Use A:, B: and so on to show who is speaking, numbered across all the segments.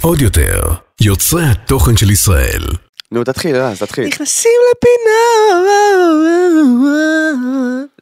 A: עוד יותר, יוצרי התוכן של ישראל.
B: נו, תתחיל, אה, אז
C: כן.
B: תתחיל.
D: נכנסים לפינה.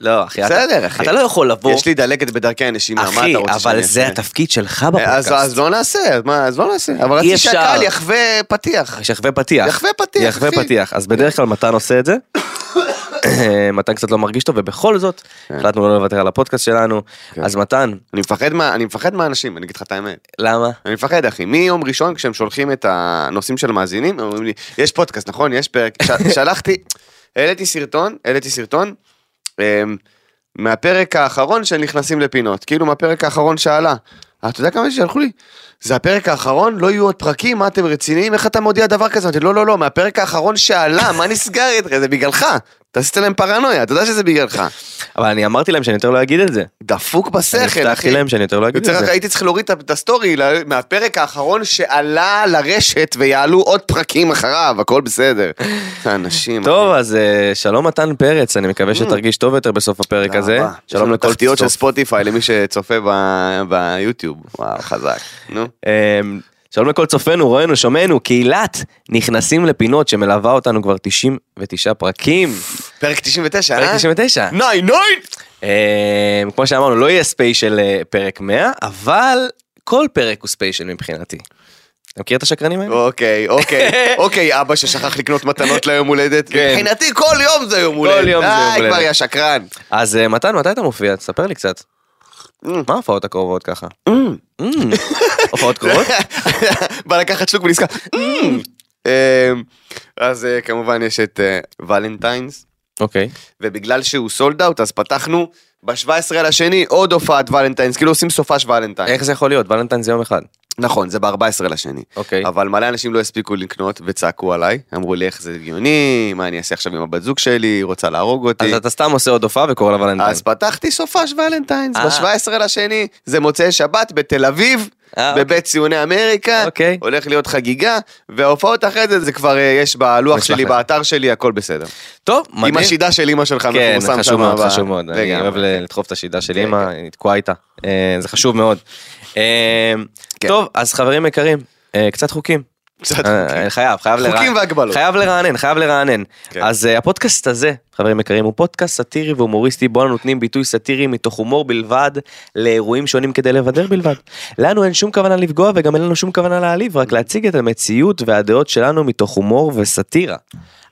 C: לא, אחי. אתה-
B: בסדר, אחי.
C: אתה לא יכול לבוא.
B: יש לי דלקת בדרכי הנשימה, מה אתה
C: אחי,
B: רוצה שאני
C: אבל זה
B: אעשה?
C: התפקיד שלך
B: אז- אז
C: בפודקאסט.
B: לא נעשה, אז מה, אז לא נעשה. אבל רציתי
C: אפשר.
B: שהקהל יחווה פתיח.
C: יחווה פתיח.
B: יחווה פתיח,
C: יחווה
B: אחי.
C: פתיח. אז בדרך כלל מתן עושה את זה. מתן קצת לא מרגיש טוב, ובכל זאת,
B: כן.
C: החלטנו לא לוותר על הפודקאסט שלנו. אז מתן,
B: אני מפחד מה- אני מפחד מהאנשים, אני אגיד לך את האמת.
C: למה?
B: אני מפחד אחי, מיום ראשון כשהם שולחים את הנושאים של המאזינים, הם אומרים לי, יש פודקאסט נכון? יש פרק, ש- שלחתי, העליתי סרטון, העליתי סרטון, אמ, מהפרק האחרון של נכנסים לפינות, כאילו מהפרק האחרון שעלה. אה, אתה יודע כמה שלחו לי? זה הפרק האחרון? לא יהיו עוד פרקים? מה אתם רציניים? איך אתה מודיע דבר כזה? אמרתי, לא, לא, לא, מהפרק האחרון שעלה, מה נסגר איתך? זה בגללך. אתה עשית להם פרנויה, אתה יודע שזה בגללך.
C: אבל אני אמרתי להם שאני יותר לא אגיד את זה.
B: דפוק
C: אני
B: בשכל,
C: הבטחתי
B: אחי.
C: להם שאני יותר לא אגיד את
B: יוצא
C: זה.
B: רק הייתי צריך להוריד את- את הסטורי ל- מהפרק האחרון שעלה לרשת ויעלו עוד פרקים אחריו, הכל בסדר. אנשים.
C: טוב, אז אה, שלום מתן פרץ, אני מקווה שתרגיש טוב יותר בסוף הפרק
B: אחי.
C: הזה.
B: Mm. תודה רבה. יש
C: שלום
B: לנו
C: לכל
B: תחתיות של
C: צופ-
B: ספוטיפיי למי שצופה ב- ביוטיוב. וואו, חזק. נו.
C: אמ, שלום לכל צופינו, רואינו, שומענו, קהילת נכנסים לפינות שמלווה אותנו כבר 99 פרקים.
B: פרק 99,
C: פרק
B: אה?
C: 99.
B: ניי, ניי!
C: אמ, כמו שאמרנו, לא יהיה ספיישל אה, פרק 100, אבל כל פרק הוא ספיישל מבחינתי. אתה מכיר את השקרנים האלה?
B: אוקיי, אוקיי, אוקיי, אבא ששכח לקנות מתנות ליום הולדת.
C: כן.
B: מבחינתי כל יום זה יום הולדת.
C: יום זה יום
B: די, כבר,
C: הולדת.
B: יא שקרן.
C: אז אה, מתן, מתי אתה מופיע? תספר לי קצת.
B: אה.
C: מה ההופעות הקרובות ככה? אמ, הופעות קרובות?
B: בא לקחת שלוק ונזכר.
C: Mm.
B: "אמ". אמ, אז אה, כמובן יש את אה, ולנטיינס,
C: אוקיי.
B: ובגלל שהוא סולד אאוט אז פתחנו ב-17 על השני עוד הופעת ולנטיינס, כאילו עושים סופש ולנטיינס.
C: איך זה יכול להיות? ולנטיין זה יום אחד.
B: נכון, זה ב-14 על השני.
C: אוקיי.
B: אבל מלא אנשים לא הספיקו לקנות וצעקו עליי, אמרו לי איך זה הגיוני, מה אני אעשה עכשיו עם הבת זוג שלי, היא רוצה להרוג אותי.
C: אז אתה סתם עושה עוד הופעה וקורא לה ולנטיין.
B: אה. אז פתחתי סופש ולנטיינס,
C: אה.
B: ב-17 לשני, זה מוצאי שבת בתל אביב,
C: אה,
B: בבית ציוני אמריקה,
C: אוקיי.
B: הולך להיות חגיגה, וההופעות אחרי זה, זה כבר אה, יש בלוח
C: נשלח
B: שלי,
C: לך.
B: באתר שלי, הכל בסדר.
C: טוב,
B: עם
C: מדהים.
B: השידה של אמא שלך
C: כן,
B: מפורסם
C: חשוב
B: שמה
C: מאוד,
B: ב-
C: חשוב מאוד. אני
B: לגמרי.
C: אוהב ל- לדחוף את השידה של
B: כן,
C: אמא, היא תקועה איתה. אה, זה חשוב מאוד. אה,
B: כן.
C: טוב, אז חברים יקרים, אה, קצת חוקים.
B: קצת
C: אה,
B: חוקים.
C: חייב, חייב לרענן.
B: חוקים והגבלות.
C: חייב לרענן, חייב לרענן.
B: כן.
C: אז אה, הפודקאסט הזה, חברים יקרים, הוא פודקאסט סאטירי והומוריסטי, בו אנו נותנים ביטוי סאטירי מתוך הומור בלבד, לאירועים שונים כדי לבדר בלבד. לנו אין שום כוונה לפגוע וגם אין לנו שום כוונה להעליב, רק להציג את המציאות והדעות שלנו מתוך הומור וסאטירה.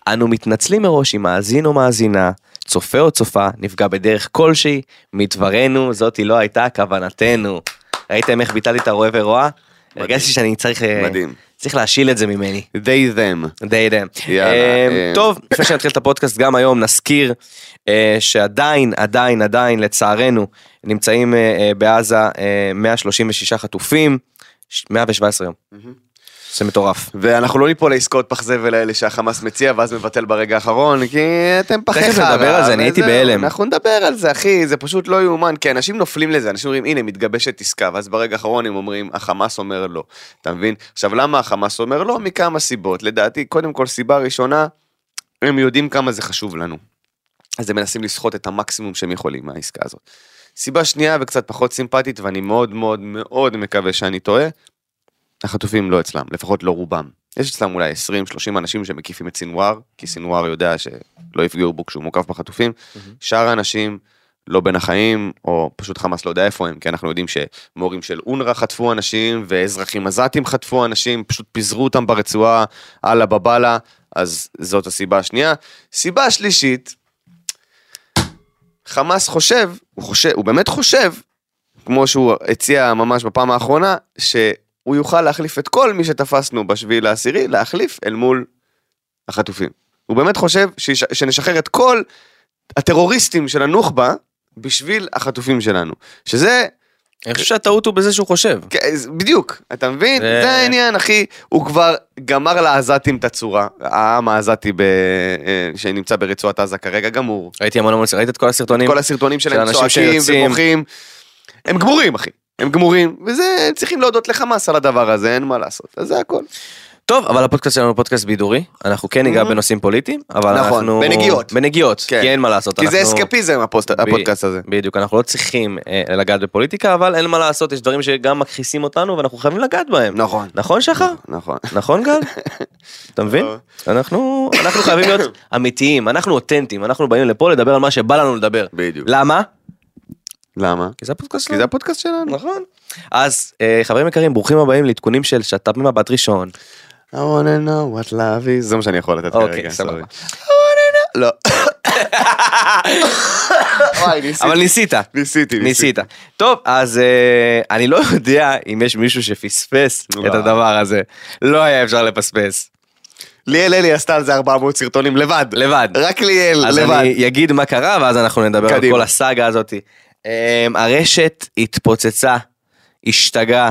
C: אנו מתנצלים מראש אם מאזין או מאזינה, צופה או צופה, נפגע בדרך כלשהי, מדברנו, זאתי לא הייתה כוונתנו. ראיתם איך ביטלתי את הרואה ורואה? הרגשתי שאני צריך... אה,
B: מדהים.
C: צריך להשיל את זה ממני.
B: They them.
C: די די.
B: יאללה,
C: אה,
B: אה.
C: טוב, לפני שנתחיל את הפודקאסט גם היום נזכיר אה, שעדיין, עדיין, עדיין, לצערנו, נמצאים אה, אה, בעזה אה, 136 חטופים, ש- 117 יום. זה מטורף.
B: ואנחנו לא ניפול לעסקאות פח זבל האלה שהחמאס מציע ואז מבטל ברגע האחרון, כי אתם פחי חרא.
C: תכף נדבר על זה, אני הייתי
B: וזהו,
C: בהלם.
B: אנחנו נדבר על זה, אחי, זה פשוט לא יאומן, כי אנשים נופלים לזה, אנשים אומרים, הנה, מתגבשת עסקה, ואז ברגע האחרון הם אומרים, החמאס אומר לא. אתה מבין? עכשיו, למה החמאס אומר לא? מכמה סיבות. לדעתי, קודם כל, סיבה ראשונה, הם יודעים כמה זה חשוב לנו. אז הם מנסים לסחוט את המקסימום שהם יכולים מהעסקה הזאת. סיבה שנייה וקצת פחות סימפטית, ואני מאוד מאוד מאוד מקווה שאני טועה, החטופים לא אצלם, לפחות לא רובם. יש אצלם אולי 20-30 אנשים שמקיפים את סינואר, כי סינואר יודע שלא לא יפגעו בו כשהוא מוקף בחטופים. שאר האנשים לא בין החיים, או פשוט חמאס לא יודע איפה הם, כי אנחנו יודעים שמורים של אונר"א חטפו אנשים, ואזרחים עזתים חטפו אנשים, פשוט פיזרו אותם ברצועה, אללה בבאללה, אז זאת הסיבה השנייה. סיבה שלישית, חמאס חושב, הוא חושב, הוא באמת חושב, כמו שהוא הציע ממש בפעם האחרונה, שהוא יוכל להחליף את כל מי שתפסנו בשביעי לעשירי, להחליף אל מול החטופים. הוא באמת חושב שיש, שנשחרר את כל הטרוריסטים של הנוח'בה בשביל החטופים שלנו. שזה,
C: אני חושב שהטעות הוא בזה שהוא חושב.
B: כן, זה- בדיוק, אתה מבין?
C: זה-
B: זה העניין, אחי. הוא כבר גמר לעזתים את הצורה. העם העזתי ב... אה, שנמצא ברצועת עזה כרגע גמור.
C: ראיתי המון המון, ראית את כל הסרטונים?
B: כל הסרטונים
C: של
B: שלהם
C: אנשים
B: צועקים
C: שיוצאים.
B: ובוכים. הם גמורים, אחי. הם גמורים, וזה, צריכים להודות לחמאס על הדבר הזה, אין מה לעשות. אז זה הכל.
C: טוב, אבל הפודקאסט שלנו הוא פודקאסט בידורי, אנחנו כן ניגע
B: Mhm.
C: בנושאים פוליטיים, אבל
B: נכון,
C: אנחנו...
B: בנגיעות.
C: בנגיעות,
B: כן.
C: כי אין מה לעשות.
B: כי זה
C: אנחנו-
B: אסקפיזם הפוסט-
C: ב-
B: הפודקאסט הזה.
C: בדיוק, אנחנו לא צריכים אה, לגעת בפוליטיקה, אבל אין מה לעשות, יש דברים שגם מכחיסים אותנו ואנחנו חייבים לגעת בהם.
B: נכון.
C: נכון שחר?
B: נכון.
C: נכון גל? אתה מבין?
B: נכון.
C: אנחנו אנחנו חייבים להיות אמיתיים, אנחנו אותנטיים, אנחנו באים לפה לדבר על מה שבא לנו לדבר.
B: בדיוק.
C: למה?
B: למה?
C: כי זה הפודקאסט
B: כי
C: שלנו.
B: זה הפודקאסט שלנו.
C: נכון. אז אה, חברים יקרים, ברוכים הבאים לעדכונים של שת"פ ממבט ראשון.
B: I wanna know what love is. זה מה שאני יכול לתת
C: אוקיי,
B: כרגע.
C: סבבה.
B: סורי. I wanna know- לא. וואי, ניסיתי.
C: אבל ניסית.
B: ניסיתי.
C: ניסית. טוב, אז אה, אני לא יודע אם יש מישהו שפספס
B: לא.
C: את הדבר הזה. לא היה אפשר לפספס.
B: ליאל אלי עשתה על זה 400 סרטונים לבד.
C: לבד.
B: רק ליאל,
C: אז
B: לבד.
C: אני אגיד מה קרה ואז אנחנו נדבר על
B: קדימה.
C: כל הסאגה הזאת. אה, הרשת התפוצצה, השתגעה,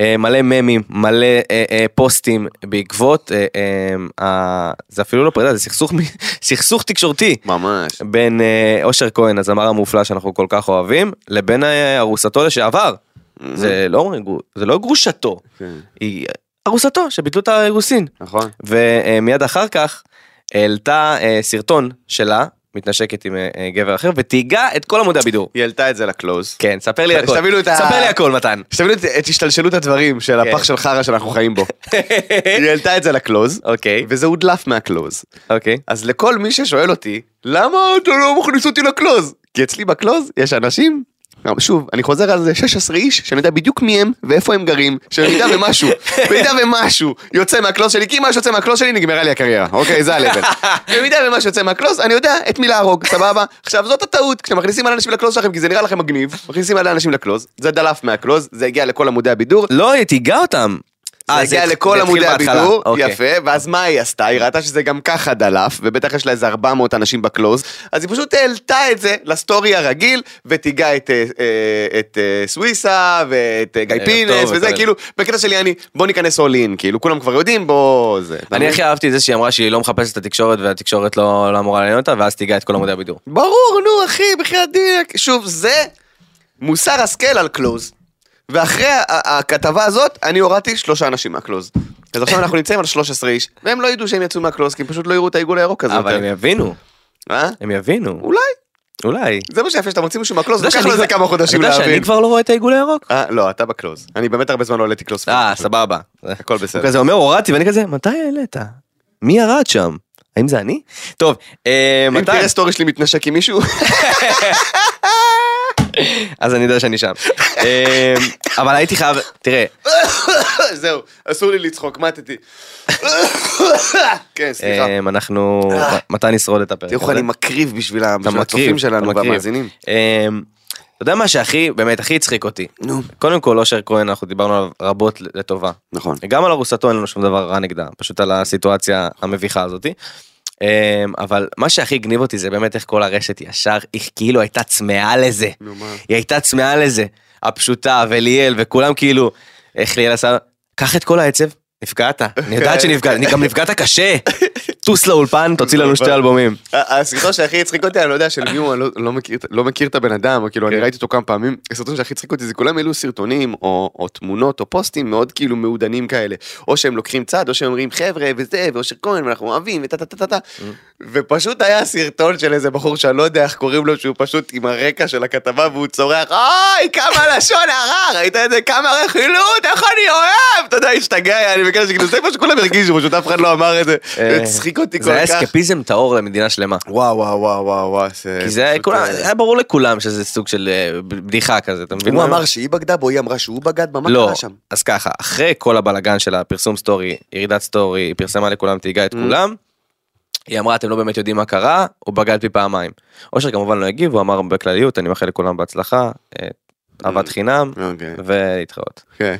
C: אה, מלא ממים, מלא אה, אה, פוסטים בעקבות, אה, אה, ה- זה אפילו לא פרידה, זה סכסוך מ- סכסוך תקשורתי.
B: ממש.
C: בין אה, אושר כהן, הזמר המופלא שאנחנו כל כך אוהבים, לבין אה, ארוסתו לשעבר. זה לא אומרים, גרו- זה לא גרושתו,
B: כן.
C: היא ארוסתו שביטלו את האירוסין.
B: נכון.
C: ומיד אחר כך העלתה אה, סרטון שלה, מתנשקת עם אה, אה, גבר אחר, ותהיגה את כל עמודי הבידור.
B: היא העלתה את זה לקלוז.
C: כן, ספר לי הכל.
B: שתבינו את ה-
C: ספר לי הכל, מתן.
B: שתבינו את- את השתלשלות הדברים של
C: כן.
B: הפח של חרא שאנחנו חיים בו. היא העלתה את זה לקלוז,
C: אוקיי,
B: וזה הודלף מהקלוז.
C: אוקיי.
B: אז לכל מי ששואל אותי, למה אתה לא מכניס אותי לקלוז? כי אצלי בקלוז יש אנשים, לא, שוב, אני חוזר על זה, 16 איש, שאני יודע בדיוק מי הם ואיפה הם גרים, שבמידה ומשהו, במידה ומשהו יוצא מהקלוז שלי, כי מה שיוצא מהקלוז שלי נגמרה לי הקריירה, אוקיי? זה הלבל. במידה ומשהו יוצא מהקלוז, אני יודע את מי להרוג, סבבה? עכשיו, זאת הטעות, כשמכניסים על אנשים לקלוז שלכם, כי זה נראה לכם מגניב, מכניסים על אנשים לקלוז, זה דלף מהקלוז, זה הגיע לכל עמודי הבידור,
C: לא, היא תהיגה אותם.
B: זה
C: אה,
B: הגיע
C: התח-
B: לכל
C: זה התחיל
B: עמודי
C: בהתחלה.
B: הבידור,
C: אוקיי.
B: יפה, ואז מה היא עשתה? היא ראתה שזה גם ככה דלף, ובטח יש לה איזה 400 אנשים בקלוז, אז היא פשוט העלתה את זה לסטורי הרגיל, ותיגע את, אה, אה, את אה, סוויסה, ואת אה, גיא
C: אה,
B: פינס,
C: טוב,
B: וזה,
C: וכל
B: כאילו, בקטע שלי אני, בוא ניכנס all in, כאילו, כולם כבר יודעים, בוא זה. אתה
C: אני
B: מבין?
C: הכי אהבתי את זה שהיא אמרה שהיא לא מחפשת את התקשורת והתקשורת לא לא אמורה לעניין אותה ואז תיגע את כל עמודי הבידור.
B: ברור, נו, אחי, בחייאת דינק. שוב, זה מוסר השכל על קלוז. ואחרי ה- ה- הכתבה הזאת, אני הורדתי שלושה אנשים מהקלוז. אז עכשיו אנחנו נמצאים על 13 איש, והם לא ידעו שהם יצאו מהקלוז, כי הם פשוט לא יראו את העיגול הירוק הזה.
C: אבל
B: יותר.
C: הם יבינו,
B: אה?
C: הם יבינו,
B: אולי.
C: אולי.
B: זה מה שיפה, שאתה מוציא מישהו מהקלוז,
C: אתה יודע
B: לקח
C: שאני
B: לו איזה
C: כבר-
B: כמה חודשים
C: אתה יודע
B: להבין.
C: שאני כבר לא רואה את העיגול הירוק?
B: אה, לא, אתה בקלוז. אני באמת הרבה זמן לא העליתי קלוז.
C: אה, סבבה.
B: הכל
C: הוא
B: בסדר.
C: כזה אומר, הורדתי, ואני כזה, מתי העלית? מי ירד שם? האם זה אני? טוב, אה,
B: אם
C: מתי?
B: תראה סטורי שלי מתנשק עם מישהו,
C: אז אני יודע שאני שם. אה, אבל הייתי חייב, תראה,
B: זהו, אסור לי לצחוק, מתתי. כן, סליחה.
C: אה, אנחנו,
B: אה.
C: מתי נשרוד את הפרק
B: תראו איך
C: הזה?
B: אני מקריב בשביל ה-
C: אתה
B: בשביל
C: מקריב,
B: הצופים
C: אתה
B: שלנו
C: מקריב.
B: והמאזינים.
C: אה, אתה יודע מה שהכי, באמת, הכי הצחיק אותי?
B: נו.
C: קודם כל, אושר כהן, אנחנו דיברנו עליו רבות לטובה.
B: נכון.
C: גם על ארוסתו אין לנו שום דבר רע נגדה, פשוט על הסיטואציה המביכה הזאתי. אמ, אבל מה שהכי הגניב אותי זה באמת איך כל הרשת ישר, היא כאילו הייתה צמאה לזה.
B: נו, מה?
C: היא הייתה צמאה לזה. הפשוטה וליאל וכולם כאילו, איך ליאל עשה, קח את כל העצב, נפגעת. אני יודעת
B: אוקיי.
C: שנפגעת, אני גם נפגעת קשה. טוס לאולפן, תוציא לנו שתי אלבומים.
B: ה- הסרטון שהכי הצחיק אותי, אני לא יודע של מי הוא, אני לא- לא מכיר- לא מכיר את הבן אדם, או כאילו אני
C: כן.
B: ראיתי אותו כמה פעמים, הסרטון שהכי הצחיק אותי זה כולם העלו סרטונים או או תמונות או פוסטים מאוד כאילו מעודנים כאלה, או שהם לוקחים צד, או שהם אומרים חבר'ה וזה, ואושר כהן, ואנחנו אוהבים, וטה טה טה טה,
C: Mm.
B: ופשוט היה סרטון של איזה בחור שאני לא יודע איך קוראים לו, שהוא פשוט עם הרקע של הכתבה והוא צורח, אוי, כמה לשון הרע, ראית את זה? כמה רכילות, איך אני אוהב! אתה יודע, השתגע, אני בקטע שכאילו זה מה שכולם הרגישו, פשוט אף אחד לא אמר את זה, זה הצחיק אותי
C: אה, זה היה
B: כל כך. כן,
C: אסקפיזם טהור למדינה שלמה.
B: וואו וואו וואו וואו וואו.
C: כי זה היה כולם-
B: אה,
C: אה, היה ברור לכולם שזה סוג של אה, בדיחה כזה, אתה
B: הוא
C: מבין? מה אני
B: אמר
C: אומר?
B: שהיא בגדה בו, היא אמרה שהוא בגד בה, מה
C: לא,
B: קרה שם?
C: אז ככה, אחרי כל הבלגן של הפרסום סטורי, ירידת סטורי, היא פרסמה לכולם, תהיגה את
B: Mm.
C: כולם, היא אמרה, אתם לא באמת יודעים מה קרה, הוא בגד בי פעמיים. אושר כמובן לא הגיב, הוא אמר בכלליות, אני מאחל לכולם בהצלחה, אה, אהבת חינם,
B: אוקיי,
C: ולהתראות.
B: אוקיי.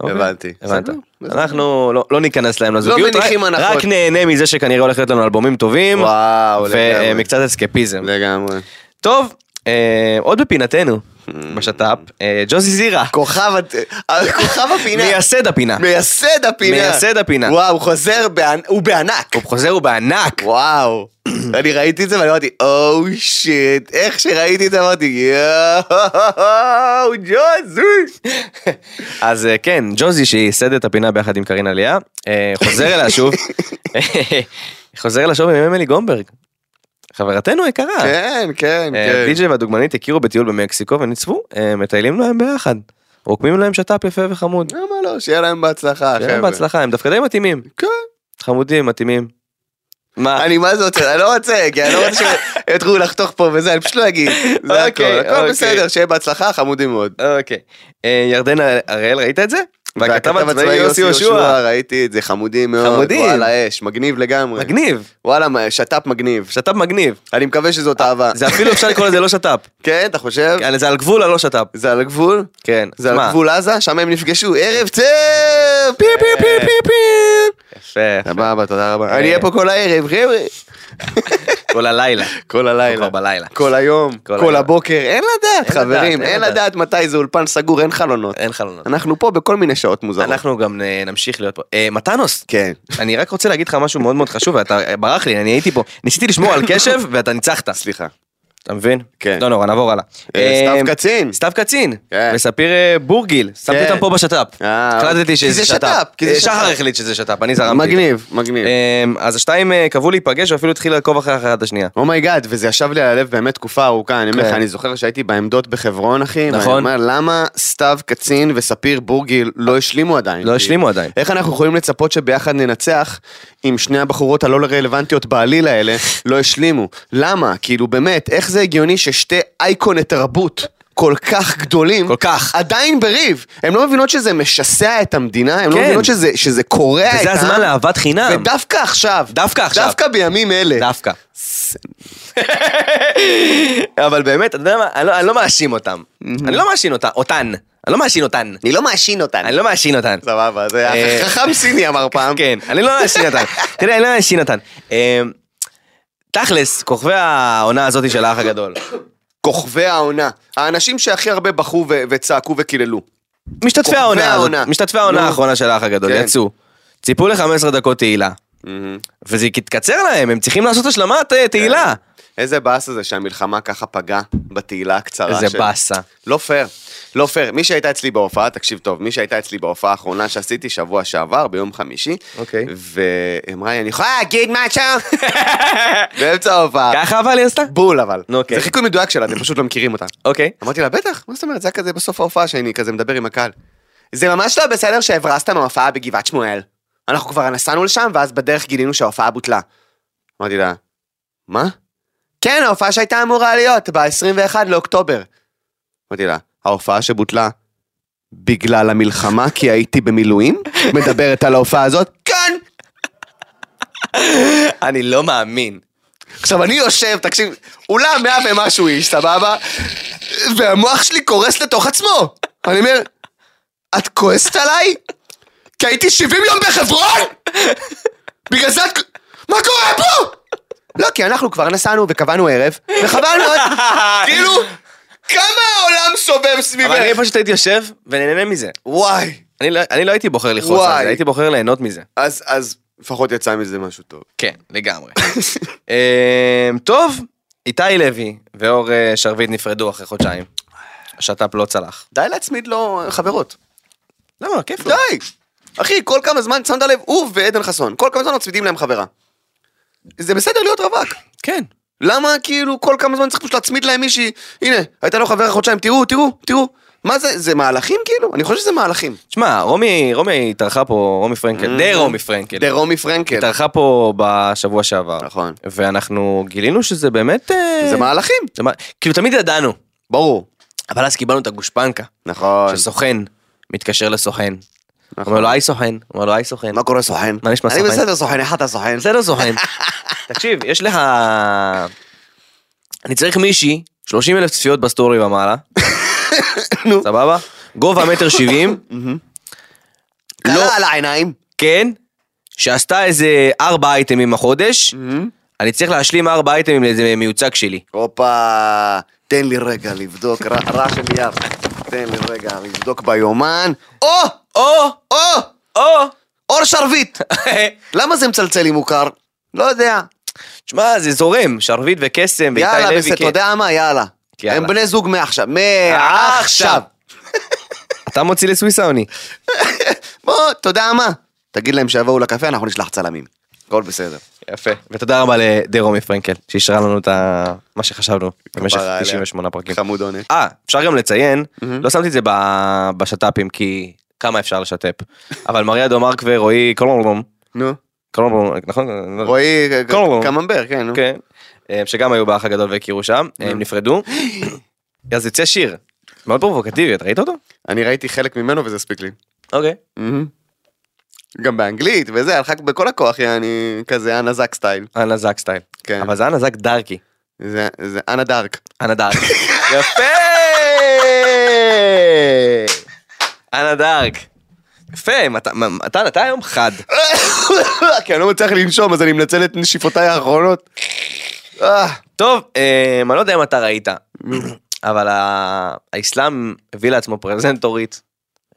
C: אוקיי?
B: הבנתי.
C: הבנת.
B: בסדר, בסדר.
C: אנחנו לא- לא ניכנס להם לזוגיות, רק-
B: מניחים הנחות.
C: רק נהנה מזה שכנראה הולך להיות לנו אלבומים טובים,
B: וואו, לגמרי.
C: ומקצת אסקפיזם.
B: לגמרי.
C: טוב, אה, עוד בפינתנו,
B: Mm.
C: בשת"פ, אה, ג'וזי זירה,
B: כוכב הד- כוכב הפינה.
C: מייסד הפינה.
B: מייסד הפינה.
C: מייסד הפינה.
B: וואו, חוזר, בענ- הוא בענק.
C: הוא חוזר ובענק.
B: וואו. אני ראיתי את זה ואני אמרתי, "Oh, או שיט. איך שראיתי את זה אמרתי, יואו, ג'וזי.
C: אז אה, כן, ג'וזי שייסד את הפינה ביחד עם קרין עלייה, אה, חוזר אליה שוב, חוזר אליה שוב עם אמילי גומברג. חברתנו היקרה.
B: כן, כן,
C: אה,
B: כן.
C: די.ג'יי והדוגמנית הכירו בטיול במקסיקו ונצפו, אה, מטיילים להם ביחד. רוקמים להם שת"פ יפה וחמוד.
B: למה לא? שיהיה להם בהצלחה,
C: שיהיה להם
B: חבר'ה.
C: בהצלחה, הם דווקא די מתאימים.
B: כן.
C: חמודים, מתאימים. מה?
B: אני מה זה רוצה, אני לא רוצה, כי אני לא רוצה שהם יתחילו לחתוך פה וזה, אני פשוט לא אגיד. זה הכל,
C: אוקיי,
B: הכל
C: אוקיי.
B: בסדר, שיהיה בהצלחה, חמודים מאוד.
C: אוקיי. אה, ירדן הראל, ראית את זה? והכתב הצבאי יוסי יהושע.
B: יהושע, ראיתי את זה, חמודים מאוד.
C: חמודים.
B: וואלה אש, מגניב לגמרי.
C: מגניב,
B: וואלה, מה, שת"פ מגניב.
C: שת"פ מגניב.
B: אני מקווה שזאת אהבה.
C: אה, זה אפילו אפשר לקרוא לזה לא שת"פ.
B: כן, אתה חושב?
C: על- זה על גבול הלא שת"פ.
B: זה על הגבול?
C: כן.
B: זה על
C: מה?
B: גבול עזה? שם הם נפגשו, ערב צאב! פי פי
C: אה.
B: פי פי פי!
C: יפה.
B: סבבה, תודה רבה. אני אהיה פה כל הערב, חבר'ה.
C: כל הלילה.
B: כל הלילה.
C: כבר בלילה.
B: כל היום,
C: כל
B: כל
C: היום.
B: הבוקר, אין לדעת
C: אין
B: חברים,
C: לדעת, אין
B: אין
C: לדעת.
B: לדעת מתי זה אולפן סגור, אין חלונות.
C: אין חלונות.
B: אנחנו פה בכל מיני שעות מוזרות.
C: אנחנו גם אה, נמשיך להיות פה. אה, מתנוס,
B: כן.
C: אני רק רוצה להגיד לך משהו מאוד מאוד חשוב, ואתה אה, ברח לי, אני הייתי פה. ניסיתי לשמור על קשב, ואתה ניצחת.
B: סליחה.
C: אתה מבין?
B: כן.
C: לא נורא, נעבור הלאה.
B: אה, סתיו
C: אה,
B: קצין.
C: סתיו קצין.
B: כן.
C: וספיר אה, בורגיל. שמתי
B: כן.
C: אותם פה בשת"פ.
B: אה,
C: החלטתי
B: כי
C: שזה
B: זה
C: שת"פ.
B: שת"פ, כי זה
C: אה, שחר
B: שת"פ.
C: החליט שזה שת"פ, אני זרמתי.
B: מגניב, מגניב.
C: אה, אז השתיים אה, קבעו להיפגש ואפילו התחיל לעקוב אחרי אחת השנייה.
B: אוקיי. אומייגאד, וזה ישב לי על הלב באמת תקופה ארוכה, אני אומר לך,
C: כן.
B: אני זוכר שהייתי בעמדות בחברון, אחי, ואני
C: נכון.
B: אומר, למה סתיו קצין וספיר בורגיל לא השלימו עדיין?
C: לא השלימו עדיין.
B: איך אנחנו יכולים לצפות שביחד ננצח אם שני הבחורות הלא רלוונטיות בעליל האלה לא השלימו? למה? כאילו, באמת, איך זה הגיוני ששתי אייקוני תרבות... כל כך גדולים,
C: כל כך.
B: עדיין בריב, הן לא מבינות שזה משסע את המדינה, הן לא
C: כן.
B: מבינות שזה, שזה קורע את העם,
C: וזה הזמן לאהבת חינם.
B: ודווקא עכשיו,
C: דווקא עכשיו.
B: דווקא בימים אלה,
C: דווקא. אבל באמת, אתה יודע מה, אני לא- אני לא מאשים אותם. אני לא מאשים אותה- אותן. אני לא מאשים אותן.
B: אני לא מאשין אותן.
C: אני לא מאשים אותן.
B: סבבה, זה
C: אה,
B: חכם סיני אמר פעם.
C: כן, אני לא מאשים אותן. תראה, אני לא מאשים אותן. אמ, תכלס, כוכבי העונה הזאת של האח הגדול.
B: כוכבי העונה. האנשים שהכי הרבה בכו ו- וצעקו וקיללו.
C: משתתפי
B: כוכבי
C: העונה הזאת,
B: העונה.
C: משתתפי העונה
B: נו.
C: האחרונה של האח הגדול,
B: כן.
C: יצאו. ציפו ל-15 דקות תהילה. וזה יתקצר להם, הם צריכים לעשות השלמת אה, תהילה.
B: איזה באסה זה שהמלחמה ככה פגעה בתהילה הקצרה
C: איזה באסה.
B: לא פייר, לא פייר. מי שהייתה אצלי בהופעה, תקשיב טוב, מי שהייתה אצלי בהופעה האחרונה שעשיתי שבוע שעבר, ביום חמישי,
C: אוקיי.
B: ואמרה לי, אני יכולה להגיד משהו? באמצע ההופעה.
C: ככה אבל היא עשתה?
B: בול אבל.
C: נו, אוקיי.
B: זה חיקוי מדויק שלה, אתם פשוט לא מכירים אותה.
C: אוקיי.
B: אמרתי לה, בטח, מה זאת אומרת, זה היה כזה בסוף ההופעה שאני כזה מדבר עם הקהל. זה ממש לא בסדר שהברזת מההופעה בגבעת שמואל. אנחנו כבר נסענו לשם, ואז בדרך גילינו שההופעה בוטלה. אמרתי לה, מה? כן, ההופעה שהייתה אמורה להיות, ב-21 לאוקטובר. אמרתי לה, ההופעה שבוטלה בגלל המלחמה, כי הייתי במילואים? מדברת על ההופעה הזאת? כן!
C: אני לא מאמין.
B: עכשיו אני יושב, תקשיב, אולם מאה ומשהו איש, סבבה? והמוח שלי קורס לתוך עצמו. אני אומר, את כועסת עליי? כי הייתי 70 יום בחברון? בגלל זה את... מה קורה פה? לא, כי אנחנו כבר נסענו וקבענו ערב, וחבל מאוד. כאילו, כמה העולם סובב
C: אבל אני
B: סביבך?
C: פשוט הייתי יושב ונהנה מזה.
B: וואי.
C: אני לא- אני לא הייתי בוחר לכעוס על
B: וואי.
C: זה, הייתי בוחר ליהנות מזה.
B: אז, אז, לפחות יצא מזה משהו טוב.
C: כן, לגמרי. אמ, טוב, איתי לוי ואור אה, שרביט נפרדו אחרי חודשיים. השת"פ לא צלח.
B: די להצמיד לו חברות.
C: למה? כיף לו.
B: די! אחי, כל כמה זמן, שמת לב, הוא ועדן חסון, כל כמה זמן מצמידים להם חברה. זה בסדר להיות רווק.
C: כן.
B: למה כאילו כל כמה זמן צריך פשוט להצמיד להם מישהי, הנה, הייתה לו חברה חודשיים, תראו, תראו, תראו. מה זה, זה מהלכים כאילו? אני חושב שזה מהלכים.
C: שמע, רומי, רומי התארחה פה, רומי פרנקל, Mm-hmm. די רומי פרנקל.
B: דרומי פרנקל.
C: התארחה פה בשבוע שעבר.
B: נכון.
C: ואנחנו גילינו שזה באמת... אה,
B: זה מהלכים,
C: זה מה- כאילו תמיד ידענו,
B: ברור.
C: אבל אז קיבלנו את הגושפנקה.
B: נכון.
C: שסוכן מתקשר לסוכן.
B: נכון.
C: אומר לו היי סוכן, אומר לו היי סוכן.
B: מה קורה סוכן?
C: מה נשמע, סוכן?
B: אני בסדר סוכן, איך אתה סוכן?
C: בסדר סוכן. תקשיב, יש לך... אני צריך מישהי, 30 אלף צפיות בסטורי ומעלה.
B: נו.
C: סבבה? גובה מטר שבעים, לא.
B: קלה על העיניים.
C: כן, שעשתה איזה ארבע אייטמים החודש, אני צריך להשלים ארבע אייטמים לאיזה מיוצג שלי.
B: הופה, תן לי רגע לבדוק, ר- רח עם יד. תן לי רגע לבדוק ביומן. או!
C: או,
B: או!
C: או.
B: אור שרביט! למה זה מצלצל לי מוכר? לא יודע.
C: תשמע, זה זורם, שרביט וקסם, ואיתי לוי.
B: יאללה, בסדר,
C: כן.
B: אתה יודע מה? יאללה.
C: יאללה.
B: הם בני זוג מעכשיו. מעכשיו.
C: אתה מוציא לסוויסה או אני?
B: בוא, אתה יודע מה? תגיד להם שיבואו לקפה, אנחנו נשלח צלמים. הכל בסדר.
C: יפה. ותודה רבה לדרומי פרנקל, שאישרה לנו את ה- מה שחשבנו במשך
B: כפרה עליה.
C: 98 פרקים.
B: חמוד עונה.
C: אה, אפשר גם לציין, לא שמתי את זה ב- בשת"פים, כי כמה אפשר לשת"פ. אבל מריה דומרק ורועי קולמרלום,
B: נו.
C: אוקיי. קולמרלום, נכון?
B: רועי ק-
C: קולו.
B: קממבר, כן, נו.
C: כן. אה, שגם היו באח הגדול והכירו שם, הם נפרדו. אז יוצא שיר, מאוד פרובוקטיבי, את ראית אותו?
B: אני ראיתי חלק ממנו וזה הספיק לי.
C: אוקיי.
B: גם באנגלית וזה, הלכה בכל הכוח, יעני, כזה אנה זאק סטייל.
C: אנה זאק סטייל.
B: כן.
C: אבל זה אנה זאק דארקי.
B: זה זה אנה דארק.
C: אנה דארק. יפה! אנה דארק. יפה, מתן, מתן, אתה היום חד.
B: כי אני לא מצליח לנשום, אז אני מנצל את נשיפותיי האחרונות. אה,
C: טוב, אה, אני לא יודע אם אתה ראית, אבל ה- האסלאם הביא לעצמו פרזנטורית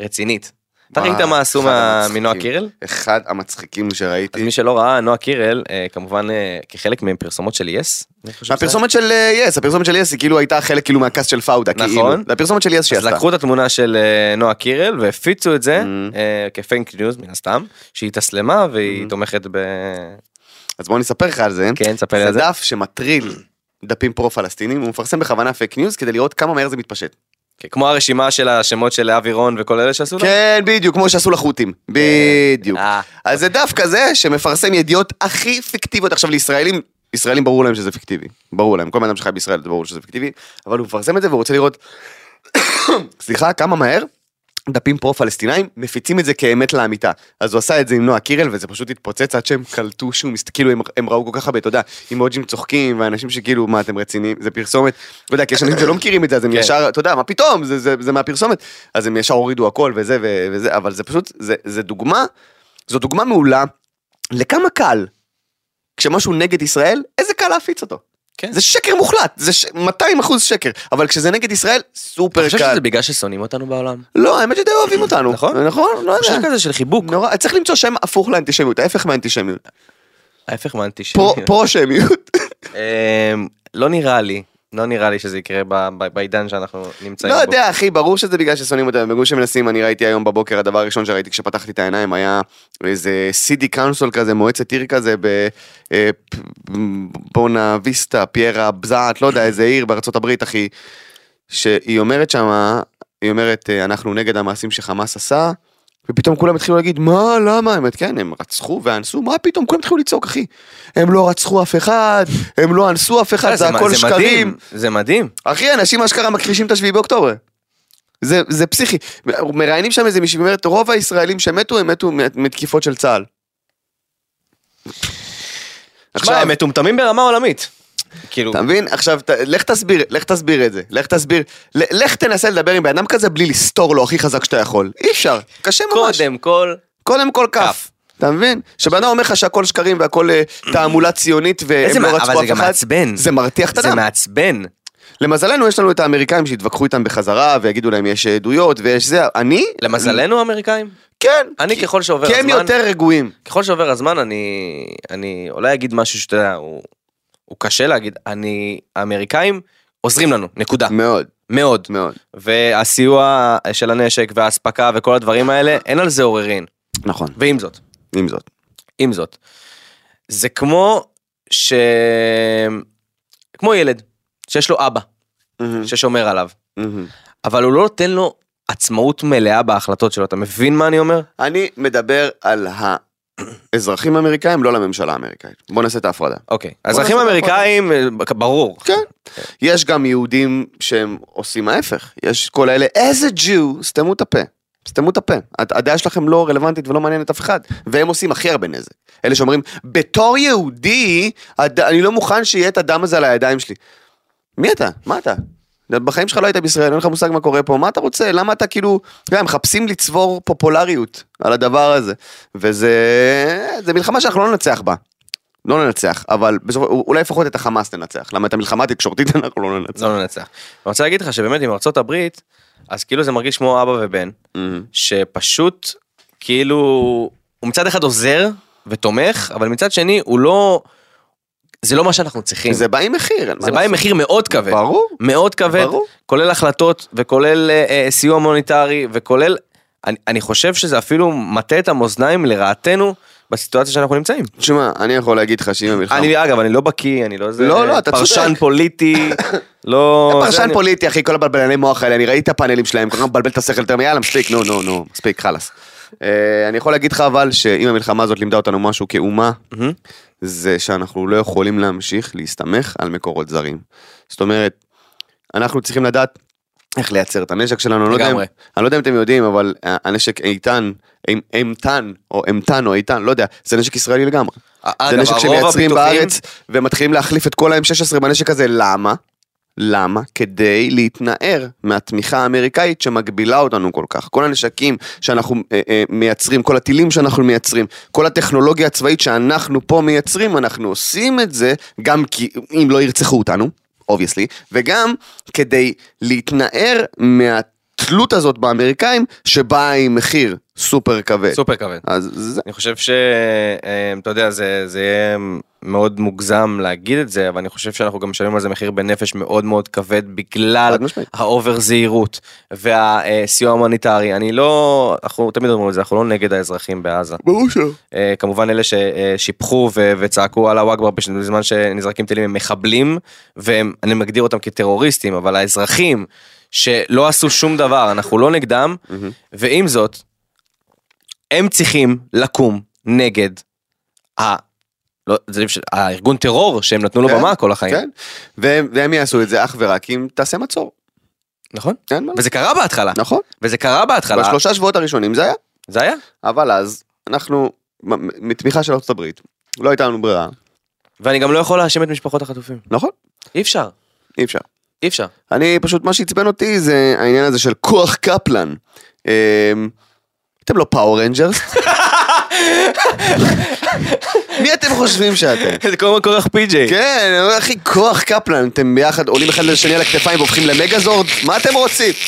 C: רצינית. אתה
B: וואי,
C: ראית מה עשו
B: אחד
C: מה-
B: המצחיקים.
C: מנועה קירל?
B: אחד המצחיקים
C: אז
B: שראיתי.
C: מי שלא ראה, נועה קירל, אה, כמובן אה, כחלק מפרסומות של יס. אני חושב שזה-
B: הפרסומת של אה, יס, הפרסומת של יס היא כאילו הייתה חלק כאילו מהקאסט של פאודה,
C: נכון.
B: כאילו. זה הפרסומת של יס
C: אז
B: שעשתה.
C: לקחו את התמונה של אה, נועה קירל והפיצו את זה
B: Mm.
C: אה, כפייק ניוז מן הסתם, שהיא התאסלמה
B: Mm-hmm.
C: והיא תומכת ב...
B: אז בוא אני אספר לך על זה.
C: כן, תספר לי
B: זה
C: על זה.
B: דף שמטריל דפים פרו-פלסטינים, הוא מפרסם בכוונה פייק ניוז כדי לראות כמה מהר זה מתפשט.
C: כן, כמו הרשימה של השמות של אבי רון וכל אלה שעשו לה?
B: כן, בדיוק, כמו שעשו לחות'ים.
C: כן.
B: בדיוק.
C: אה,
B: אז זה דף כזה שמפרסם ידיעות הכי פיקטיביות. עכשיו לישראלים, ישראלים ברור להם שזה פיקטיבי. ברור להם, כל בן אדם שחי בישראל זה ברור שזה פיקטיבי, אבל הוא מפרסם את זה והוא רוצה לראות, סליחה, כמה מהר. דפים פרו-פלסטינאים מפיצים את זה כאמת לאמיתה. אז הוא עשה את זה עם נועה קירל וזה פשוט התפוצץ עד שהם קלטו שהוא מסת... כאילו הם, הם ראו כל כך הרבה, אתה יודע, אימוג'ים צוחקים ואנשים שכאילו מה אתם רציניים, זה פרסומת, אתה יודע, כי יש אנשים שלא מכירים את זה אז הם
C: כן.
B: ישר, אתה יודע, מה פתאום, זה, זה, זה מהפרסומת, אז הם ישר הורידו הכל וזה ו- וזה, אבל זה פשוט, זה, זה דוגמה, זו דוגמה מעולה לכמה קל, כשמשהו נגד ישראל, איזה קל להפיץ אותו.
C: כן.
B: זה שקר מוחלט, זה ש... 200 אחוז שקר, אבל כשזה נגד ישראל,
C: אתה
B: סופר
C: חושב
B: קל.
C: שזה בגלל ששונאים אותנו בעולם?
B: לא, האמת שדי אוהבים אותנו.
C: נכון?
B: נכון, לא
C: חושב
B: יודע.
C: כזה של חיבוק,
B: נורא, צריך למצוא שם הפוך לאנטישמיות, ההפך מהאנטישמיות.
C: ההפך
B: פרו-
C: מהאנטישמיות.
B: פרו-שמיות.
C: אמ, לא נראה לי, לא נראה לי שזה יקרה ב- ב- בעידן שאנחנו נמצאים
B: לא
C: בו.
B: יודע, אחי, ברור שזה בגלל ששונאים אותם. בגלל שמנסים, אני ראיתי היום בבוקר, הדבר הראשון שראיתי כשפתחתי את העיניים היה איזה סידי קאונסול כזה, מועצת עיר כזה בבונה ויסטה, פיירה, בזעת, לא יודע, איזה עיר בארצות הברית, אחי, שהיא אומרת שמה, היא אומרת, אה, אנחנו נגד המעשים שחמאס עשה. ופתאום כולם התחילו להגיד, מה, למה, האמת, כן, הם רצחו ואנסו, מה פתאום, כולם התחילו לצעוק, אחי. הם לא רצחו אף אחד, הם לא אנסו אף אחד,
C: אה,
B: זה
C: מ-
B: הכל שקרים.
C: מדהים, זה מדהים.
B: אחי, אנשים אשכרה מכחישים את השביעי באוקטובר. זה, זה פסיכי. מראיינים שם איזה מישהי ואומרת, רוב הישראלים שמתו, הם מתו מ- מתקיפות של צה"ל.
C: עכשיו,
B: עכשיו,
C: הם מטומטמים ברמה עולמית. כאילו,
B: אתה מבין? עכשיו, ת, לך תסביר, לך תסביר את זה. לך תסביר, ל, לך תנסה לדבר עם בן אדם כזה בלי לסתור לו הכי חזק שאתה יכול. אי אפשר, קשה ממש.
C: קודם כל,
B: קודם כל כף.
C: כף.
B: אתה מבין? שבן אדם אומר לך שהכל שקרים והכל אה, תעמולה ציונית
C: איזה
B: והם לא
C: מה- אבל
B: רצחו
C: זה
B: אף
C: גם
B: אחד,
C: מעצבן.
B: זה מרתיח את
C: זה
B: הדם.
C: מעצבן.
B: למזלנו יש לנו את האמריקאים שיתווכחו איתם בחזרה ויגידו להם יש עדויות ויש זה, אני?
C: למזלנו האמריקאים?
B: כן.
C: אני
B: כי-
C: ככל שעובר
B: כי הם
C: הזמן-
B: יותר רגועים.
C: ככל שעובר הזמן אני אני אולי אגיד משהו שאתה יודע הוא, הוא קשה להגיד אני האמריקאים עוזרים לנו נקודה
B: מאוד,
C: מאוד
B: מאוד.
C: והסיוע של הנשק והאספקה וכל הדברים האלה אין על זה עוררין
B: נכון.
C: ועם זאת
B: עם זאת.
C: עם זאת זה כמו ש... כמו ילד שיש לו אבא
B: Mm-hmm.
C: ששומר עליו אבל הוא לא נותן לו עצמאות מלאה בהחלטות שלו אתה מבין מה אני אומר?
B: אני מדבר על האזרחים האמריקאים, לא לממשלה האמריקאית. בוא נעשה את ההפרדה.
C: אוקיי
B: נעשה
C: האזרחים
B: את הפרדה.
C: האמריקאים אה, ברור
B: כן. יש גם יהודים שהם עושים ההפך. יש כל האלה, איזה ג'ו, סתמו את הפה. סתמו את הפה. הד- הדעה שלכם לא רלוונטית ולא מעניינת אף אחד. והם עושים הכי הרבה נזק. אלה שאומרים, בתור יהודי, הד... אני לא מוכן שיהיה את הדם הזה על הידיים שלי. מי אתה? מה אתה? בחיים שלך לא היית בישראל, אין לך מושג מה קורה פה, מה אתה רוצה? למה אתה כאילו, אתה יודע, הם מחפשים לצבור פופולריות על הדבר הזה. וזה זה מלחמה שאנחנו לא ננצח בה. לא ננצח, אבל בסופו, אולי לפחות את החמאס ננצח, למה את המלחמה התקשורתית אנחנו לא ננצח.
C: לא ננצח. אני רוצה להגיד לך שבאמת עם ארצות הברית, אז כאילו זה מרגיש כמו אבא ובן,
B: מהמם.
C: שפשוט כאילו הוא מצד אחד עוזר ותומך, אבל מצד שני הוא לא, זה לא מה שאנחנו צריכים.
B: זה בא עם מחיר, אין מה
C: זה בא
B: לעשות.
C: עם מחיר מאוד כבד.
B: ברור.
C: מאוד כבד,
B: ברור.
C: כולל החלטות וכולל אה, אה, סיוע מוניטרי וכולל, אני, אני חושב שזה אפילו מטה את המאזניים לרעתנו בסיטואציה שאנחנו נמצאים.
B: תשמע, אני יכול להגיד לך שאם המלחמה...
C: אני אגב, אני לא בקיא, אני לא זה,
B: נכון. לא, לא, אתה
C: פרשן
B: צודק.
C: פוליטי, לא...
B: אתה
C: זה
B: פרשן
C: אני-
B: פוליטי, אחי, כל הבלבלני מוח האלה, אני ראיתי את הפאנלים שלהם, כל כך מבלבל את השכל יותר מיאללה, מספיק, נו, נו, נו, מספיק, חלאס. אה, אני יכול להגיד לך אבל, שאם המלחמה הזאת לימדה אותנו משהו כאומה,
C: מהמם.
B: זה שאנחנו לא יכולים להמשיך להסתמך על מקורות זרים. זאת אומרת, אנחנו צריכים לדעת איך לייצר את הנשק שלנו, אני לא יודע אם-
C: לגמרי.
B: אני לא יודע אם אתם יודעים, אבל הנשק איתן, אימ- אימתן, או אימתן או איתן, לא יודע, זה נשק ישראלי לגמרי.
C: אגב,
B: זה נשק
C: הרוב
B: שמייצרים
C: הפיתוחים-
B: בארץ, ומתחילים להחליף את כל ה-M16 בנשק הזה, למה? למה? כדי להתנער מהתמיכה האמריקאית שמגבילה אותנו כל כך. כל הנשקים שאנחנו אה, אה, מייצרים, כל הטילים שאנחנו מייצרים, כל הטכנולוגיה הצבאית שאנחנו פה מייצרים, אנחנו עושים את זה גם כי אם לא ירצחו אותנו, אובייסלי, וגם כדי להתנער מהתלות הזאת באמריקאים, שבאה עם מחיר סופר כבד.
C: סופר כבד.
B: אז זה...
C: אני חושב ש... אה, אתה יודע, זה, זה יהיה מאוד מוגזם להגיד את זה, אבל אני חושב שאנחנו גם משלמים על זה מחיר בנפש מאוד מאוד כבד בגלל
B: חד משמעית.
C: האובר זהירות והסיוע ההומניטרי. אני לא... אנחנו תמיד אומרים את זה, אנחנו לא נגד האזרחים בעזה.
B: ברור שלא.
C: אה, כמובן אלה ששיבחו ו- וצעקו על הוואגבר בזמן שנזרקים טילים הם מחבלים ואני מגדיר אותם כטרוריסטים אבל האזרחים שלא עשו שום דבר אנחנו לא נגדם ועם זאת הם צריכים לקום נגד ה... לא, זה לא- הארגון טרור שהם נתנו לו
B: כן,
C: במה כל החיים
B: כן, והם, והם יעשו את זה אך ורק אם תעשה מצור.
C: נכון
B: אין מה לעשות.
C: וזה קרה בהתחלה
B: נכון.
C: וזה קרה בהתחלה
B: בשלושה שבועות הראשונים זה היה.
C: זה היה
B: אבל אז אנחנו, מ- מתמיכה של ארצות הברית, לא הייתה לנו ברירה.
C: ואני גם לא יכול להאשים את משפחות החטופים
B: נכון,
C: אי אפשר
B: אי אפשר.
C: אי אפשר
B: אני פשוט, מה שעצבן אותי זה העניין הזה של כוח קפלן. אמ, אתם לא פאור רנג'רס? מי אתם חושבים שאתם?
C: זה קוראים כורח פי.ג'יי
B: כן, אני אומר, אחי, כוח קפלן, אתם ביחד עולים אחד לשני על הכתפיים והופכים למגזורד, מה אתם רוצים?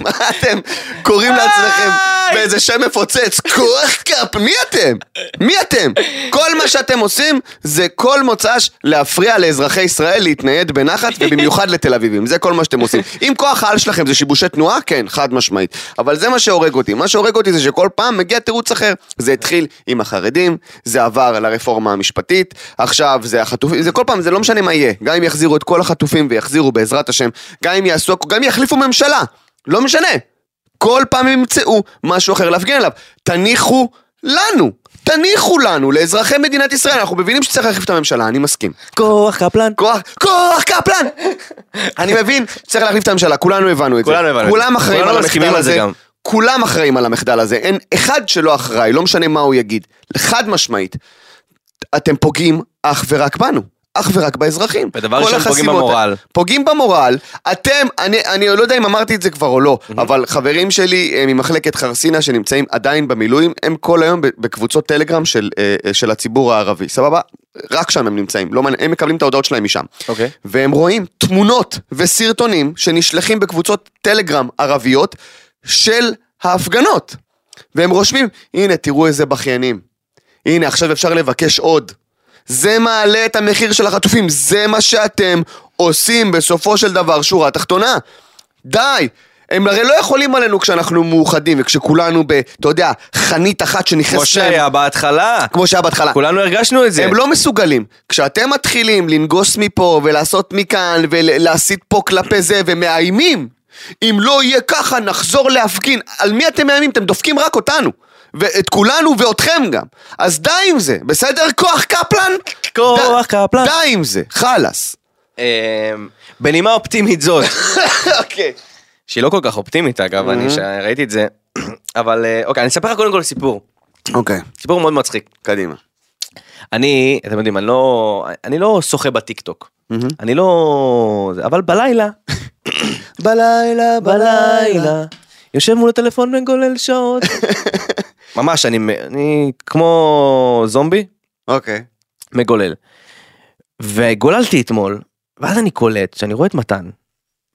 B: מה אתם קוראים לעצמכם באיזה שם מפוצץ? כוח קפלן, מי אתם? מי אתם? כל מה שאתם עושים זה כל מוצ"ש להפריע לאזרחי ישראל להתנייד בנחת ובמיוחד לתל אביבים, זה כל מה שאתם עושים. אם כוח העל שלכם זה שיבושי תנועה, כן, חד משמעית. אבל זה מה שהורג אותי. מה שהורג אותי זה שכל פעם מגיע תירוץ אחר. זה התחיל עם החרדים, זה עבר לרפורמה המשפטית, עכשיו זה החטופים, זה כל פעם, זה לא משנה מה יהיה. גם אם יחזירו את כל החטופים ויחזירו בעזרת השם, גם אם יעשו, גם אם יחליפו ממשלה, לא משנה. כל פעם הם ימצאו משהו אחר להפגין עליו. תניחו לנו, תניחו לנו, לאזרחי מדינת ישראל, אנחנו מבינים שצריך להחליף את הממשלה, אני מסכים.
C: כורח קפלן
B: כוח, כוח קפלן! אני מבין, צריך להחליף את הממשלה, כולנו הבנו את זה.
C: כולנו הבנו את זה.
B: כולם אחראים
C: כולנו
B: על
C: מסכימים
B: המחדל
C: על זה
B: הזה.
C: גם.
B: כולם אחראים על המחדל הזה, אין אחד שלא אחראי, לא משנה מה הוא יגיד. חד משמעית. אתם פוגעים אך ורק בנו. אך ורק באזרחים.
C: ודבר
B: כל
C: ראשון, פוגעים
B: החסימות-
C: במורל.
B: פוגעים במורל. אתם, אני, אני לא יודע אם אמרתי את זה כבר או לא, אבל חברים שלי אה, ממחלקת חרסינה שנמצאים עדיין במילואים, הם כל היום ב- בקבוצות טלגרם של, אה, אה, של הציבור הערבי, סבבה? רק שם הם נמצאים, לא, מעניין- הם מקבלים את ההודעות שלהם משם.
C: אוקיי.
B: והם רואים תמונות וסרטונים שנשלחים בקבוצות טלגרם ערביות של ההפגנות. והם רושמים, הנה תראו איזה בכיינים. הנה עכשיו אפשר לבקש עוד. זה מעלה את המחיר של החטופים, זה מה שאתם עושים בסופו של דבר, שורה תחתונה. די! הם הרי לא יכולים עלינו כשאנחנו מאוחדים וכשכולנו ב... אתה יודע, חנית אחת
C: כמו
B: שנכנסת להם,
C: שהיה בהתחלה,
B: כמו שהיה בהתחלה.
C: כולנו הרגשנו את זה.
B: הם לא מסוגלים. כשאתם מתחילים לנגוס מפה ולעשות מכאן ולהסית פה כלפי זה ומאיימים, אם לא יהיה ככה נחזור להפגין. על מי אתם מאיימים? אתם דופקים רק אותנו. ואת כולנו ואתכם גם. אז די עם זה, בסדר? כוח קפלן?
C: כוח
B: ד-
C: קפלן.
B: די עם זה, חלאס.
C: אמ, בנימה אופטימית זאת,
B: אוקיי.
C: שהיא לא כל כך אופטימית אגב, אני ש-
B: Mm-hmm.
C: ראיתי את זה, אבל אה, אוקיי, אני אספר לך קודם כל סיפור,
B: אוקיי,
C: סיפור מאוד מצחיק.
B: קדימה.
C: אני, אתם יודעים, אני לא, אני לא שוחה בטיקטוק, אני לא, זה, אבל בלילה,
B: בלילה,
C: בלילה, יושב מול הטלפון וגולל שעות. ממש, אני, מ- אני כמו זומבי,
B: אוקיי.
C: מגולל. וגוללתי אתמול, ואז אני קולט שאני רואה את מתן,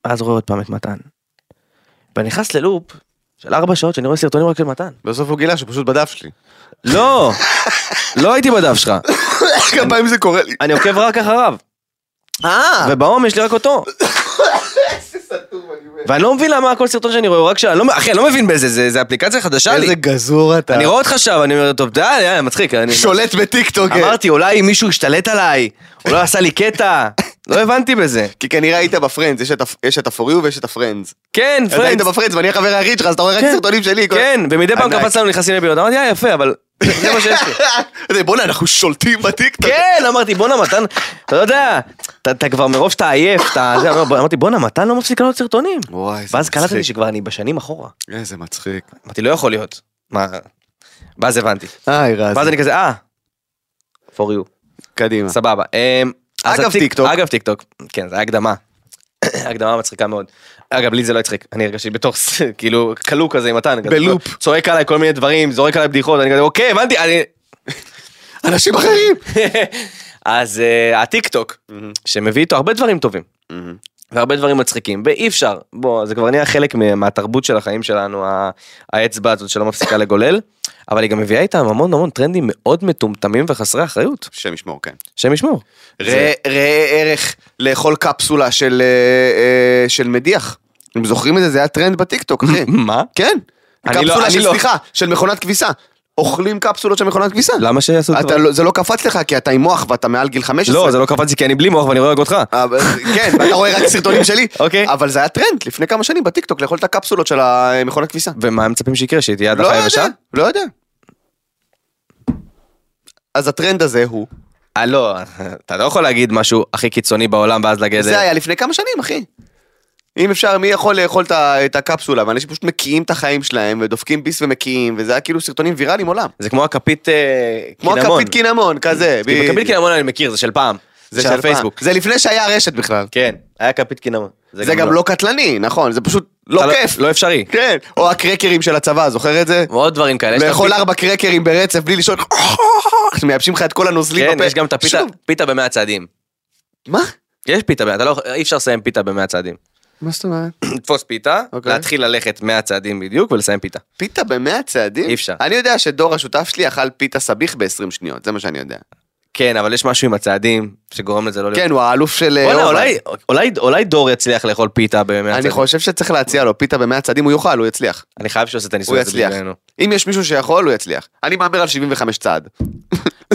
C: ואז רואה עוד פעם את מתן. ואני נכנס ללופ של ארבע שעות שאני רואה סרטונים רק של מתן.
B: בסוף הוא גילה שהוא פשוט בדף שלי.
C: לא, לא הייתי בדף שלך,
B: כמה פעמים זה קורה לי.
C: אני עוקב רק אחריו,
B: אה!
C: ובהום יש לי רק אותו.
B: איזה סתום אני אומר.
C: ואני לא מבין למה כל סרטון שאני רואה הוא רק של... אני לא מ- אחי, אני לא מבין בזה, זה- זה אפליקציה חדשה לי.
B: איזה גזור אתה.
C: אני רואה אותך שם, אני אומר, טוב, די, יאללה, מצחיק. אני-
B: שולט בטיקטוק. אה.
C: אמרתי, אולי מישהו השתלט עליי, אולי עשה לי קטע. לא הבנתי בזה.
B: כי כנראה היית בפרנדס, יש את ה- יש את הפוריו ויש את הפרנדס.
C: כן,
B: אז היית
C: פרנדס.
B: בפרנדס ואני החבר היחיד שלך, אז אתה רואה רק
C: כן.
B: סרטונים שלי. כל-
C: כן, ומדי פעם
B: ענק.
C: קפץ לנו נכנסים לבירות. אמרתי, אה, יפה, אבל זה מה שיש לי.
B: אתה יודע, בוא'נה, אנחנו שולטים בטיקטוק.
C: כן, אמרתי, בואנה, מתן, אתה לא יודע, אתה- אתה כבר מרוב שאתה עייף, אתה... זה, אמרתי, בואנה, מתן לא מפסיק לעלות סרטונים.
B: וואי, איזה
C: ואז קלטתי
B: מצחיק.
C: שכבר אני בשנים אחורה.
B: איזה מצחיק.
C: אמרתי, לא יכול להיות. מה? ואז הבנתי.
B: היי רז.
C: ואז אני כזה, אה, for you.
B: קדימה.
C: סבבה. אמ, אז
B: אה. אגב,
C: הטיק-
B: טיקטוק.
C: אגב טיקטוק. כן, זה היה הקדמה. הקדמה מצחיקה מאוד. אגב, לי זה לא הצחיק. אני הרגשתי בתוך, ס- כאילו, כלוא כזה עם מתן. כזה,
B: בלופ.
C: צועק עליי כל מיני דברים, זורק עליי בדיחות, אני כזה, אוקיי, הבנתי, אני...
B: אנשים אחרים!
C: אז אה, הטיקטוק, שמביא איתו הרבה דברים טובים. והרבה דברים מצחיקים ואי אפשר בוא זה כבר נהיה חלק מה- מהתרבות של החיים שלנו ה- האצבע הזאת שלא מפסיקה לגולל אבל היא גם מביאה איתם המון המון טרנדים מאוד מטומטמים וחסרי אחריות
B: השם ישמור, כן.
C: שהם ישמעו.
B: ראה ראה ערך לאכול קפסולה של אה, אה, של מדיח. אם זוכרים את זה, זה היה טרנד בטיקטוק, אחי.
C: מה?
B: כן.
C: אני לא-
B: קפסולה
C: אני
B: של,
C: לא.
B: סליחה, של מכונת כביסה. אוכלים קפסולות של מכונת כביסה.
C: למה שיעשו את
B: אתה לא- זה לא קפץ לך כי אתה עם מוח ואתה מעל גיל 15.
C: לא זה לא קפץ לי כי אני בלי מוח ואני רואה רק אותך.
B: אבל- כן, ואתה רואה רק סרטונים שלי.
C: אוקיי.
B: אבל זה היה טרנד לפני כמה שנים בטיקטוק לאכול את הקפסולות של המכונת כביסה.
C: ומה הם מצפים שיקרה שהיא תהיה
B: לא
C: הדחה יבשה?
B: יודע, לא יודע. אז הטרנד הזה הוא,
C: אה לא אתה לא יכול להגיד משהו הכי קיצוני בעולם ואז להגיד
B: זה היה לפני כמה שנים, אחי. אם אפשר, מי יכול לאכול את ה- את הקפסולה, ואנשים פשוט מקיאים את החיים שלהם, ודופקים ביס ומקיאים, וזה היה כאילו סרטונים ויראליים עולם.
C: זה כמו הכפית אה,
B: כמו
C: קינמון.
B: הכפית קינמון, כזה.
C: כאילו,
B: בדיוק.
C: כפית קינמון אני מכיר זה של פעם. זה
B: זה
C: של
B: של
C: הפייסבוק.
B: פעם. זה לפני שהיה רשת בכלל.
C: כן היה כפית קינמון.
B: זה גם לא קטלני, נכון, זה פשוט לא
C: אתה
B: כיף.
C: לא אפשרי.
B: כן, או הקרקרים של הצבא, זוכר את זה?
C: ועוד דברים כאלה. יש את
B: לאכול
C: הפיתה-
B: ארבע קרקרים ברצף בלי לשאול, מייבשים לך את כל הנוזלים
C: כן,
B: בפה.
C: יש גם את הפיתה,
B: שוב,
C: פיתה במאה צעדים.
B: מה?
C: יש פיתה, במאה, אתה לא, יכול- אי אפשר לסיים פיתה במאה צעדים.
B: מה זאת אומרת?
C: לתפוס פיתה,
B: אוקיי.
C: להתחיל ללכת 100 צעדים בדיוק ולסיים פיתה.
B: פיתה במאה צעדים?
C: אי אפשר.
B: אני יודע שדור השותף שלי אכל פיתה סביח ב-20 שניות, זה מה שאני יודע.
C: כן, אבל יש משהו עם הצעדים שגורם לזה לא להיות...
B: כן, הוא האלוף של... אה,
C: וואלה,
B: אורבן.
C: אולי, אולי, אולי דור יצליח לאכול פיתה במאה צעדים.
B: אני חושב שצריך להציע לו פיתה במאה צעדים, הוא יאכל, הוא יצליח.
C: אני חייב שעושה את
B: הוא
C: הניסוי הזה
B: יצליח.
C: בשבילנו.
B: אם יש מישהו שיכול, הוא יצליח. אני מהמר על 75 צעד.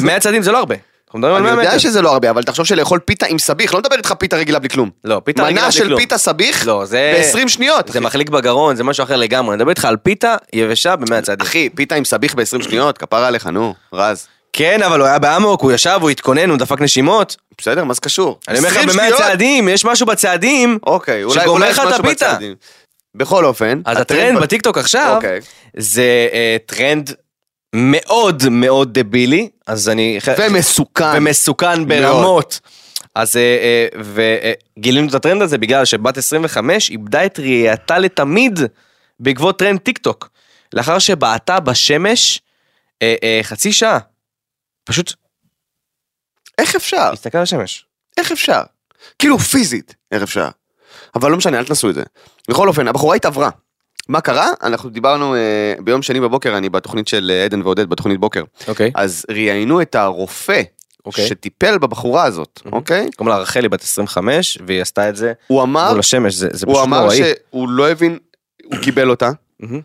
C: 100 צעדים זה לא הרבה. אנחנו מדברים על
B: אני
C: 100
B: יודע
C: מטר.
B: שזה לא הרבה, אבל תחשוב שלאכול פיתה עם סביח, לא מדבר איתך פיתה רגילה בלי כלום.
C: לא, פיתה רגילה
B: מנה
C: בלי
B: של
C: כלום.
B: פיתה סביח?
C: לא, זה...
B: ב-20 שניות.
C: זה
B: אחי.
C: מחליק בגרון, זה משהו אחר לגמרי. אני מדבר איתך על פיתה יבשה במאה צעדים.
B: אחי, פיתה עם סביח ב-20 שניות, כפרה עליך, נו, רז.
C: כן, אבל הוא היה באמוק, הוא ישב, הוא התכונן, הוא דפק נשימות.
B: בסדר, מה זה קשור?
C: אני אומר לך,
B: 20
C: במאה
B: שניות?
C: צעדים, יש משהו בצעדים.
B: אוקיי, אולי
C: שגומר
B: אולי
C: לך
B: יש
C: את
B: משהו
C: הפיתה.
B: בצעדים. בכל אופן,
C: אז הטרנד בטיקטוק עכשיו,
B: אוקיי.
C: זה אה, טרנד מאוד מאוד דבילי, אז אני...
B: ומסוכן.
C: ומסוכן ברמות. אז אה, אה, וגילינו את הטרנד הזה בגלל שבת 25 איבדה את ראייתה לתמיד בעקבות טרנד טיקטוק. לאחר שבעטה בשמש אה, אה, חצי שעה. פשוט
B: איך אפשר?
C: הסתכל על השמש.
B: איך אפשר? כאילו פיזית, איך אפשר? אבל לא משנה, אל תנסו את זה. בכל אופן, הבחורה התעברה. מה קרה? אנחנו דיברנו אה, ביום שני בבוקר, אני בתוכנית של אה, עדן ועודד, בתוכנית בוקר.
C: אוקיי.
B: אז ראיינו את הרופא
C: אוקיי.
B: שטיפל בבחורה הזאת, אוקיי?
C: קוראים לה רחלי בת 25 והיא עשתה את זה
B: הוא אמר,
C: מול השמש, זה זה
B: אה? הוא
C: פשוט
B: אמר
C: נוראי.
B: שהוא לא הבין, הוא קיבל אותה.
C: מהמם.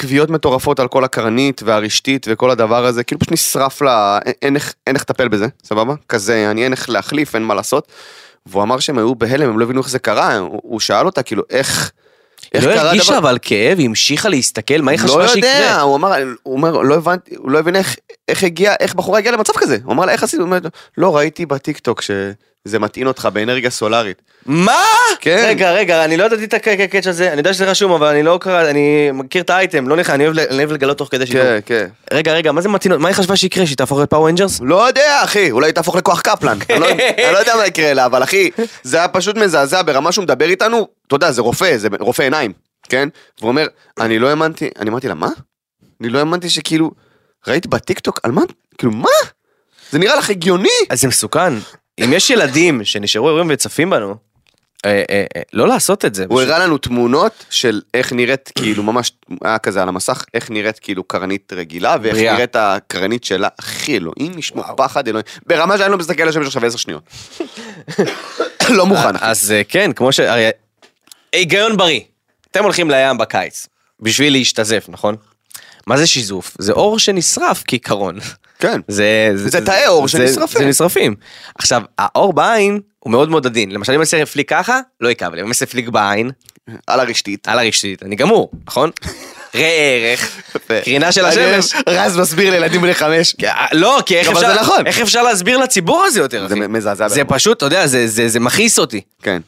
B: כוויות מטורפות על כל הקרנית והרשתית וכל הדבר הזה, כאילו פשוט נשרף לה, אין- אין איך- אין איך לטפל בזה, סבבה? כזה, אני אין איך להחליף, אין מה לעשות. והוא אמר שהם היו בהלם, הם לא הבינו איך זה קרה, הוא, הוא שאל אותה כאילו איך, איך
C: היא לא
B: קרה דבר...
C: הרגישה אבל כאב, היא המשיכה להסתכל, מה היא
B: לא
C: חשבה שיקרה?
B: יודע, הוא אמר, הוא אומר, לא הבנתי, הוא לא הבין איך, איך הגיע, איך בחורה הגיעה למצב כזה. הוא אמר לה, איך עשית? הוא אומר, לא, ראיתי בטיקטוק שזה מטעין אותך באנרגיה סולארית.
C: מה?
B: כן.
C: רגע, רגע, אני לא ידעתי את הקטע הקטע הזה, אני יודע שזה רשום, אבל אני לא קרא, אני מכיר את האייטם, לא נכנס, אני אוהב ל- אני אוהב לגלות תוך כדי שידור.
B: כן, כן.
C: רגע, רגע, מה זה מתאינות? מה היא חשבה שיקרה, שהיא תהפוך לפאוור רנג'רס?
B: לא יודע, אחי, אולי תהפוך לכוח קפלן. אני, לא, אני לא יודע מה יקרה לה, אבל אחי, זה היה פשוט מזעזע ברמה שהוא מדבר איתנו, אתה יודע, זה רופא, זה רופא עיניים, כן? והוא אומר, אני לא האמנתי, אני אמרתי לה, מה? אני לא האמנתי שכאילו, ראית בטיקטוק, על מה? כאילו, מה? זה נראה לך הגיוני?
C: אז זה מסוכן. אם יש ילדים שנשארו ערים וצפים בנו, אה, אה, אה, לא לעשות את זה.
B: הוא
C: פשוט.
B: הראה לנו תמונות של איך נראית כאילו ממש היה כזה על המסך איך נראית כאילו קרנית רגילה ואיך
C: בריאה.
B: נראית הקרנית שלה אחי אלוהים ישמור פחד אלוהים ברמה שאני לא מסתכל על השמש עכשיו עשר שניות. לא מוכן אחי.
C: אז אה, כן, כמו ש... הרי- היגיון בריא. אתם הולכים לים בקיץ, בשביל להשתזף, נכון? מה זה שיזוף? זה אור שנשרף כעיקרון.
B: כן.
C: זה...
B: זה תאי אור
C: זה-
B: שנשרפים.
C: זה נשרפים. עכשיו, האור בעין הוא מאוד מאוד עדין. למשל, אם אני אעשה פליק ככה, לא יכאב לי. אם אני אעשה פליק בעין,
B: על הרשתית.
C: על הרשתית, אני גמור, נכון? ראה ערך, קרינה של
B: אני אוהב,
C: השמש.
B: רז מסביר לילדים בני חמש.
C: אה, לא, כי איך
B: אבל זה
C: אפשר,
B: נכון.
C: איך אפשר להסביר לציבור הזה יותר,
B: זה
C: אחי?
B: מזעזע
C: זה
B: ברמות.
C: פשוט, אתה יודע, זה- זה זה מכעיס אותי.
B: כן.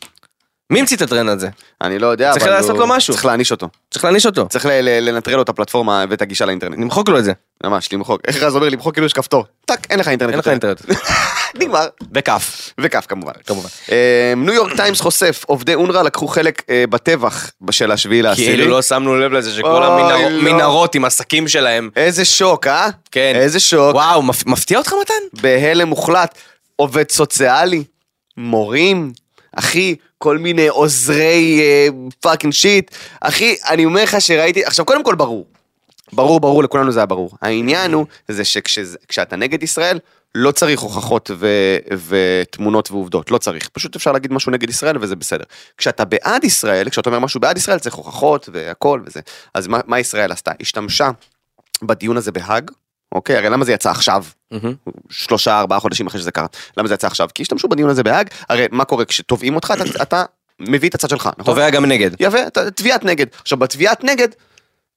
C: מי המציא את הטרנד הזה?
B: אני לא יודע
C: צריך
B: אבל
C: לעשות
B: הוא-
C: לו משהו.
B: צריך להעניש אותו.
C: צריך להעניש אותו.
B: צריך ל- ל- לנטרל לו את הפלטפורמה ואת הגישה לאינטרנט.
C: נמחוק לו את זה.
B: ממש למחוק. איך רז אומר למחוק כאילו יש כפתור. טאק אין לך אינטרנט.
C: אין לך
B: יותר.
C: אינטרנט.
B: נגמר.
C: בכף.
B: וכף כמובן.
C: כמובן.
B: אה, ניו יורק טיימס חושף, עובדי אונר"א לקחו חלק אה, בטבח של השביעי לעשירי.
C: כאילו לא שמנו לב לזה שכל
B: אוי,
C: המנהרות
B: לא.
C: מנהרות עם עסקים שלהם.
B: איזה שוק, אה?
C: כן.
B: איזה שוק.
C: וואו, מפ- מפתיע אותך מתן?
B: בהלם מוחלט. עובד סוציאלי, מורים, אחי, כל מיני עוזרי פאקינג שיט. אחי, אני אומר לך שראיתי, עכשיו קודם כל ברור. ברור, ברור, לכולנו זה היה ברור. העניין הוא, זה שכשאתה נגד ישראל, לא צריך הוכחות ו, ותמונות ועובדות, לא צריך. פשוט אפשר להגיד משהו נגד ישראל וזה בסדר. כשאתה בעד ישראל, כשאתה אומר משהו בעד ישראל, צריך הוכחות והכל וזה. אז מה, מה ישראל עשתה? השתמשה בדיון הזה בהאג, אוקיי? הרי למה זה יצא עכשיו? שלושה ארבעה חודשים אחרי שזה קרה. למה זה יצא עכשיו? כי השתמשו בדיון הזה בהאג, הרי מה קורה כשתובעים אותך, אתה, אתה מביא את הצד שלך, נכון?
C: תובע גם נגד.
B: יפה, אתה- תביעת נגד. עכשיו בתביעת נגד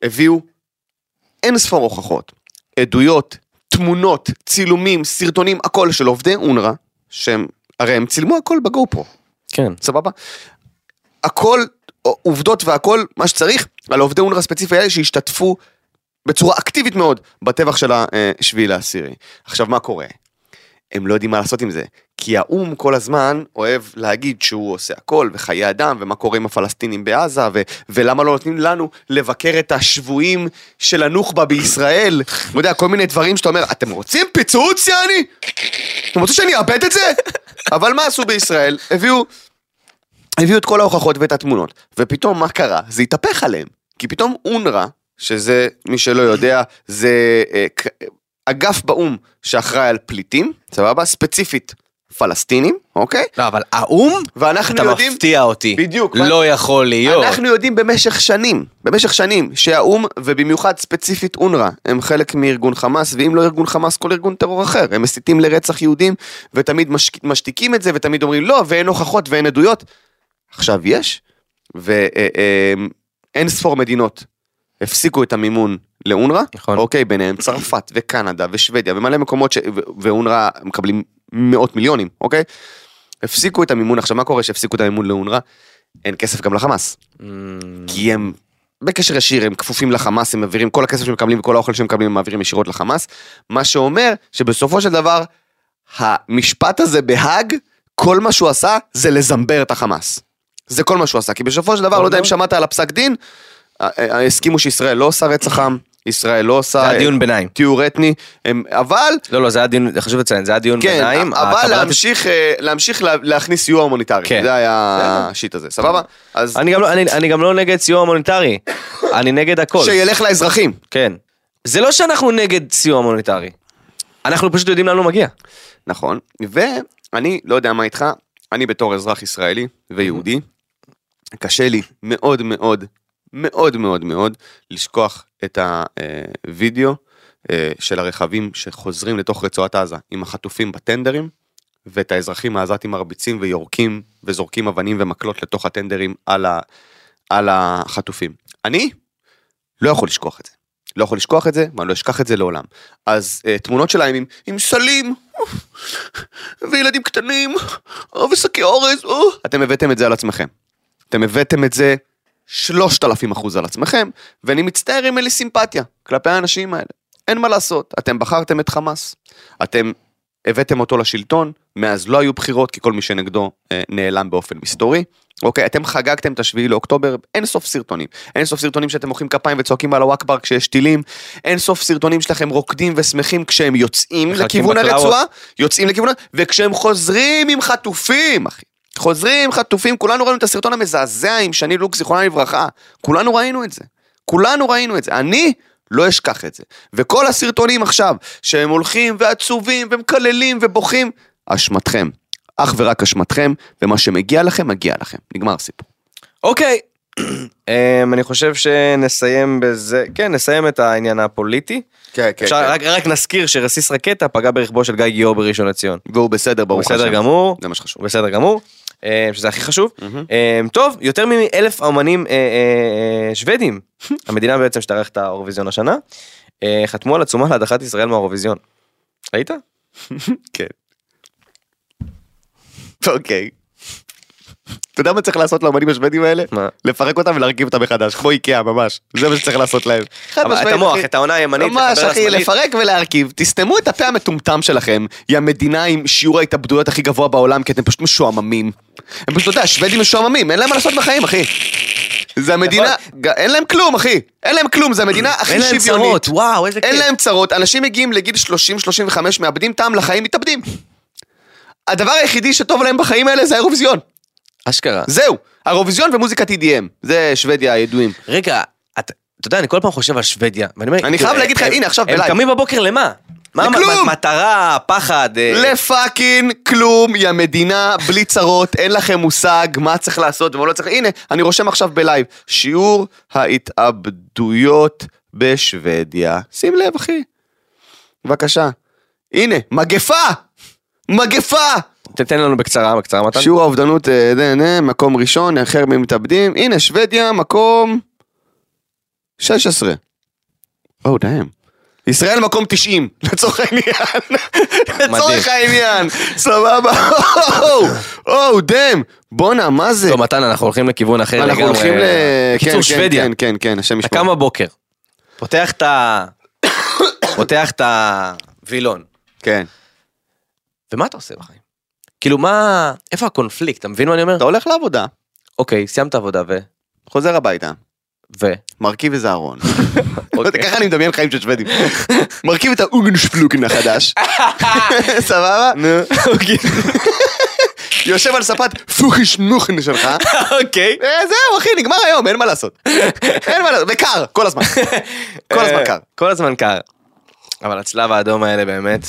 B: הביאו אין ספור הוכחות, עדויות, תמונות, צילומים, סרטונים, הכל של עובדי אונר"א, שהם, הרי הם צילמו הכל בגו פרו,
C: כן.
B: סבבה? הכל, עובדות והכל, מה שצריך, על עובדי אונר"א ספציפי האלה שהשתתפו בצורה אקטיבית מאוד בטבח של השביעי לעשירי. עכשיו, מה קורה? הם לא יודעים מה לעשות עם זה, כי האו"ם כל הזמן אוהב להגיד שהוא עושה הכל, וחיי אדם, ומה קורה עם הפלסטינים בעזה, ו- ולמה לא נותנים לנו לבקר את השבויים של הנוח'בה בישראל. אתה יודע, כל מיני דברים שאתה אומר, אתם רוצים פיצוץ, יעני? אתם רוצים שאני אאבד את זה? אבל מה עשו בישראל? הביאו הביאו את כל ההוכחות ואת התמונות, ופתאום מה קרה? זה התהפך עליהם. כי פתאום אונר"א, שזה, מי שלא יודע, זה אה, ק- אגף באו"ם שאחראי על פליטים, סבבה? ספציפית פלסטינים, אוקיי?
C: לא, אבל האו"ם?
B: ואנחנו
C: אתה
B: יודעים...
C: מפתיע אותי.
B: בדיוק, מה-
C: לא יכול להיות.
B: אנחנו יודעים במשך שנים, במשך שנים, שהאו"ם, ובמיוחד ספציפית אונר"א, הם חלק מארגון חמאס, ואם לא ארגון חמאס, כל ארגון טרור אחר. הם מסיתים לרצח יהודים, ותמיד משק... משתיקים את זה, ותמיד אומרים לא, ואין הוכחות ואין עדויות. עכשיו יש, ואין ספור מדינות הפסיקו את המימון לאונר"א,
C: נכון.
B: אוקיי, ביניהם צרפת וקנדה ושוודיה ומלא מקומות ש... ו- ואונר"א מקבלים מאות מיליונים, אוקיי? הפסיקו את המימון, עכשיו מה קורה שהפסיקו את המימון לאונר"א? אין כסף גם לחמאס. כי הם בקשר ישיר, הם כפופים לחמאס, הם מעבירים כל הכסף שהם מקבלים וכל האוכל שהם מקבלים הם מעבירים ישירות לחמאס, מה שאומר שבסופו של דבר, המשפט הזה בהאג, כל מה שהוא עשה זה לזמבר את החמאס. זה כל מה שהוא עשה, כי בסופו של דבר, לא יודע אם שמעת על הפסק דין, ה- ה- הסכימו שישראל לא עושה רצח עם, ישראל לא עושה...
C: זה היה דיון ביניים.
B: טיהור אתני, הם- אבל
C: לא, לא, זה היה דיון, חשוב לציין, זה היה דיון
B: כן,
C: ביניים.
B: אבל
C: הקבלת-
B: להמשיך, אה, להמשיך לה- להכניס סיוע הומניטרי,
C: כן.
B: זה היה השיט הזה, סבבה? אז
C: אני גם לא- אני- אני גם לא נגד סיוע הומניטרי. אני נגד הכל.
B: שילך לאזרחים.
C: כן. זה לא שאנחנו נגד סיוע הומניטרי. אנחנו פשוט יודעים לאן הוא מגיע.
B: נכון, ואני לא יודע מה איתך, אני בתור אזרח ישראלי ויהודי, קשה לי מאוד מאוד מאוד מאוד מאוד לשכוח את הווידאו אה, של הרכבים שחוזרים לתוך רצועת עזה עם החטופים בטנדרים. ואת האזרחים העזתים מרביצים ויורקים וזורקים אבנים ומקלות לתוך הטנדרים על, ה, על החטופים. אני לא יכול לשכוח את זה. לא יכול לשכוח את זה, ואני לא אשכח את זה לעולם. אז אה, תמונות שלהם עם, עם סלים, וילדים קטנים, אה, ושקי אורז, אה. אתם הבאתם את זה על עצמכם. אתם הבאתם את זה 3,000 אחוז על עצמכם, ואני מצטער אם אין לי סימפתיה כלפי האנשים האלה. אין מה לעשות, אתם בחרתם את חמאס, אתם הבאתם אותו לשלטון, מאז לא היו בחירות, כי כל מי שנגדו אה, נעלם באופן מסתורי. אוקיי, אתם חגגתם את השביעי לאוקטובר, אין סוף סרטונים. אין סוף סרטונים שאתם מוחאים כפיים וצועקים על הוואקבר כשיש טילים, אין סוף סרטונים שלכם רוקדים ושמחים כשהם יוצאים
C: מחלקים
B: לכיוון
C: בקלאוות.
B: הרצועה, יוצאים לכיוון, וכשהם חוזרים עם חטופים, אחי. חוזרים חטופים, כולנו ראינו את הסרטון המזעזע עם שני לוק, זיכרונה לברכה. כולנו ראינו את זה. כולנו ראינו את זה. אני לא אשכח את זה. וכל הסרטונים עכשיו, שהם הולכים ועצובים ומקללים ובוכים, אשמתכם. אך ורק אשמתכם, ומה שמגיע לכם, מגיע לכם. נגמר הסיפור.
C: אוקיי. אמ, אני חושב שנסיים בזה, כן, נסיים את העניין הפוליטי.
B: כן,
C: אפשר, רק, רק נזכיר שרסיס רקטה פגע ברכבו של גיא גיאור בראשון לציון.
B: והוא בסדר, ברוך השם.
C: בסדר גמור.
B: זה מה שחשוב.
C: הוא בסדר גמור, אה, שזה הכי חשוב. אה, טוב, יותר מאלף אמנים אה, אה, אה, שוודים, המדינה בעצם שתארך את האירוויזיון השנה, אה, חתמו על עצומה להדחת ישראל מהאירוויזיון. ראית?
B: כן. אוקיי. אתה יודע מה צריך לעשות לאמנים השוודים האלה?
C: מה?
B: לפרק אותם ולהרכיב אותם מחדש, כמו איקאה ממש. זה מה שצריך לעשות להם. חד
C: אבל את
B: משמעית,
C: המוח,
B: אחי.
C: את העונה הימנית,
B: ממש
C: לחבר
B: אחי,
C: לשמאלית.
B: לפרק ולהרכיב, תסתמו את הפה המטומטם שלכם, היא המדינה עם שיעור ההתאבדויות הכי גבוה בעולם, כי אתם פשוט משועממים. הם פשוט, אתה יודע, השוודים משועממים, אין להם מה לעשות בחיים, אחי. זה המדינה, ג- אין להם כלום, אחי. נכון. אין להם כלום, זה המדינה הכי
C: אין להם
B: שוויונית.
C: צרות, וואו, איזה
B: אין
C: כיף.
B: להם צרות, אנשים מגיעים לגיל 30-35, מאבדים טעם לחיים, מתאבדים. הדבר היחידי שטוב להם בחיים האלה זה האירוויזיון.
C: אשכרה.
B: זהו, האירוויזיון ומוזיקת EDM. זה שוודיה הידועים.
C: רגע, אתה אתה יודע, אני כל פעם חושב על שוודיה, ואני אומר... כאילו,
B: אני חייב להגיד לך,
C: הם-
B: הנה, עכשיו
C: הם
B: בלייב.
C: קמים בבוקר למה? מה
B: לכלום.
C: המטרה, הפחד? אה,
B: לפאקינג כלום, יא מדינה, בלי צרות, אין לכם מושג מה צריך לעשות ומה לא צריך... הנה, אני רושם עכשיו בלייב, שיעור ההתאבדויות בשוודיה. שים לב, אחי. בבקשה. הנה, מגפה! מגפה!
C: תתן לנו בקצרה, בקצרה מתן.
B: שיעור האובדנות, אה, זה, נה, מקום ראשון, אחר ממתאבדים. הנה, שוודיה, מקום 16. או, oh, דאם. ישראל מקום 90, לצורך העניין. לצורך העניין, סבבה. או, דאם. בואנה, מה זה?
C: טוב, מתן, אנחנו הולכים לכיוון אחר לגמרי.
B: אנחנו הולכים ל...
C: בקיצור,
B: כן,
C: שוודיה.
B: כן, כן, כן, השם
C: אתה
B: ישמור.
C: קם בבוקר, פותח את ה... פותח את הווילון,
B: כן.
C: ומה אתה עושה בחיים? כאילו מה, איפה הקונפליקט, אתה מבין מה אני אומר?
B: אתה הולך לעבודה,
C: אוקיי, סיימת עבודה ו...
B: חוזר הביתה,
C: ו...
B: מרכיב איזה ארון.
C: אוקיי.
B: ככה אני מדמיין חיים של שוודים. מרכיב את האוגנשפלוגן החדש. סבבה?
C: נו, אוקיי.
B: יושב על ספת פוחיש נוכן שלך.
C: אוקיי.
B: אה, זהו אחי, נגמר היום, אין מה לעשות. אין מה לעשות, וקר, כל הזמן. כל הזמן קר.
C: אה, כל הזמן קר. אבל הצלב האדום האלה באמת,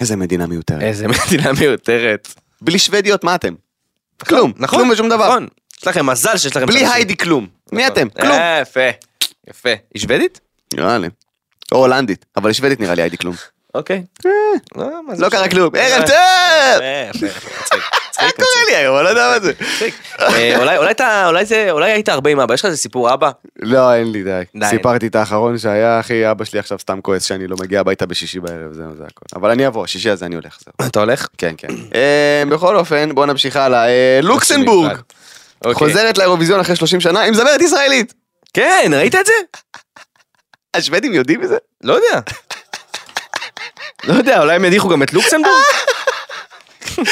B: איזה מדינה מיותרת.
C: איזה מדינה מיותרת.
B: בלי שוודיות, מה אתם? כלום,
C: נכון,
B: כלום ושום דבר.
C: נכון. יש לכם מזל שיש לכם...
B: בלי
C: חמישים.
B: היידי כלום. מי
C: נכון.
B: אתם? כלום.
C: אה, יפה. יפה. היא שוודית?
B: נראה לי. או הולנדית, אבל שוודית נראה לי היידי כלום.
C: אוקיי.
B: אה, לא קרה כלום.
C: אה,
B: ערב טוב! מה קורה לי היום? אני לא יודע מה זה.
C: אה, אולי היית הרבה עם אבא, יש לך איזה סיפור אבא?
B: לא, אין לי, די.
C: די.
B: סיפרתי את האחרון שהיה, אחי, אבא שלי עכשיו סתם כועס שאני לא מגיע הביתה בשישי בערב, זהו, זה הכל. אבל אני אבוא, שישי הזה אני הולך, זהו.
C: אתה הולך?
B: כן, כן. אה, בכל אופן, בואו נמשיך הלאה. אה, לוקסמבורג
C: אוקיי.
B: חוזרת לאירוויזיון אחרי 30 שנה עם זמרת ישראלית.
C: כן, ראית את זה?
B: השוודים יודעים מזה?
C: לא יודע. לא יודע, אולי הם ידיחו גם את לוקסמבורג?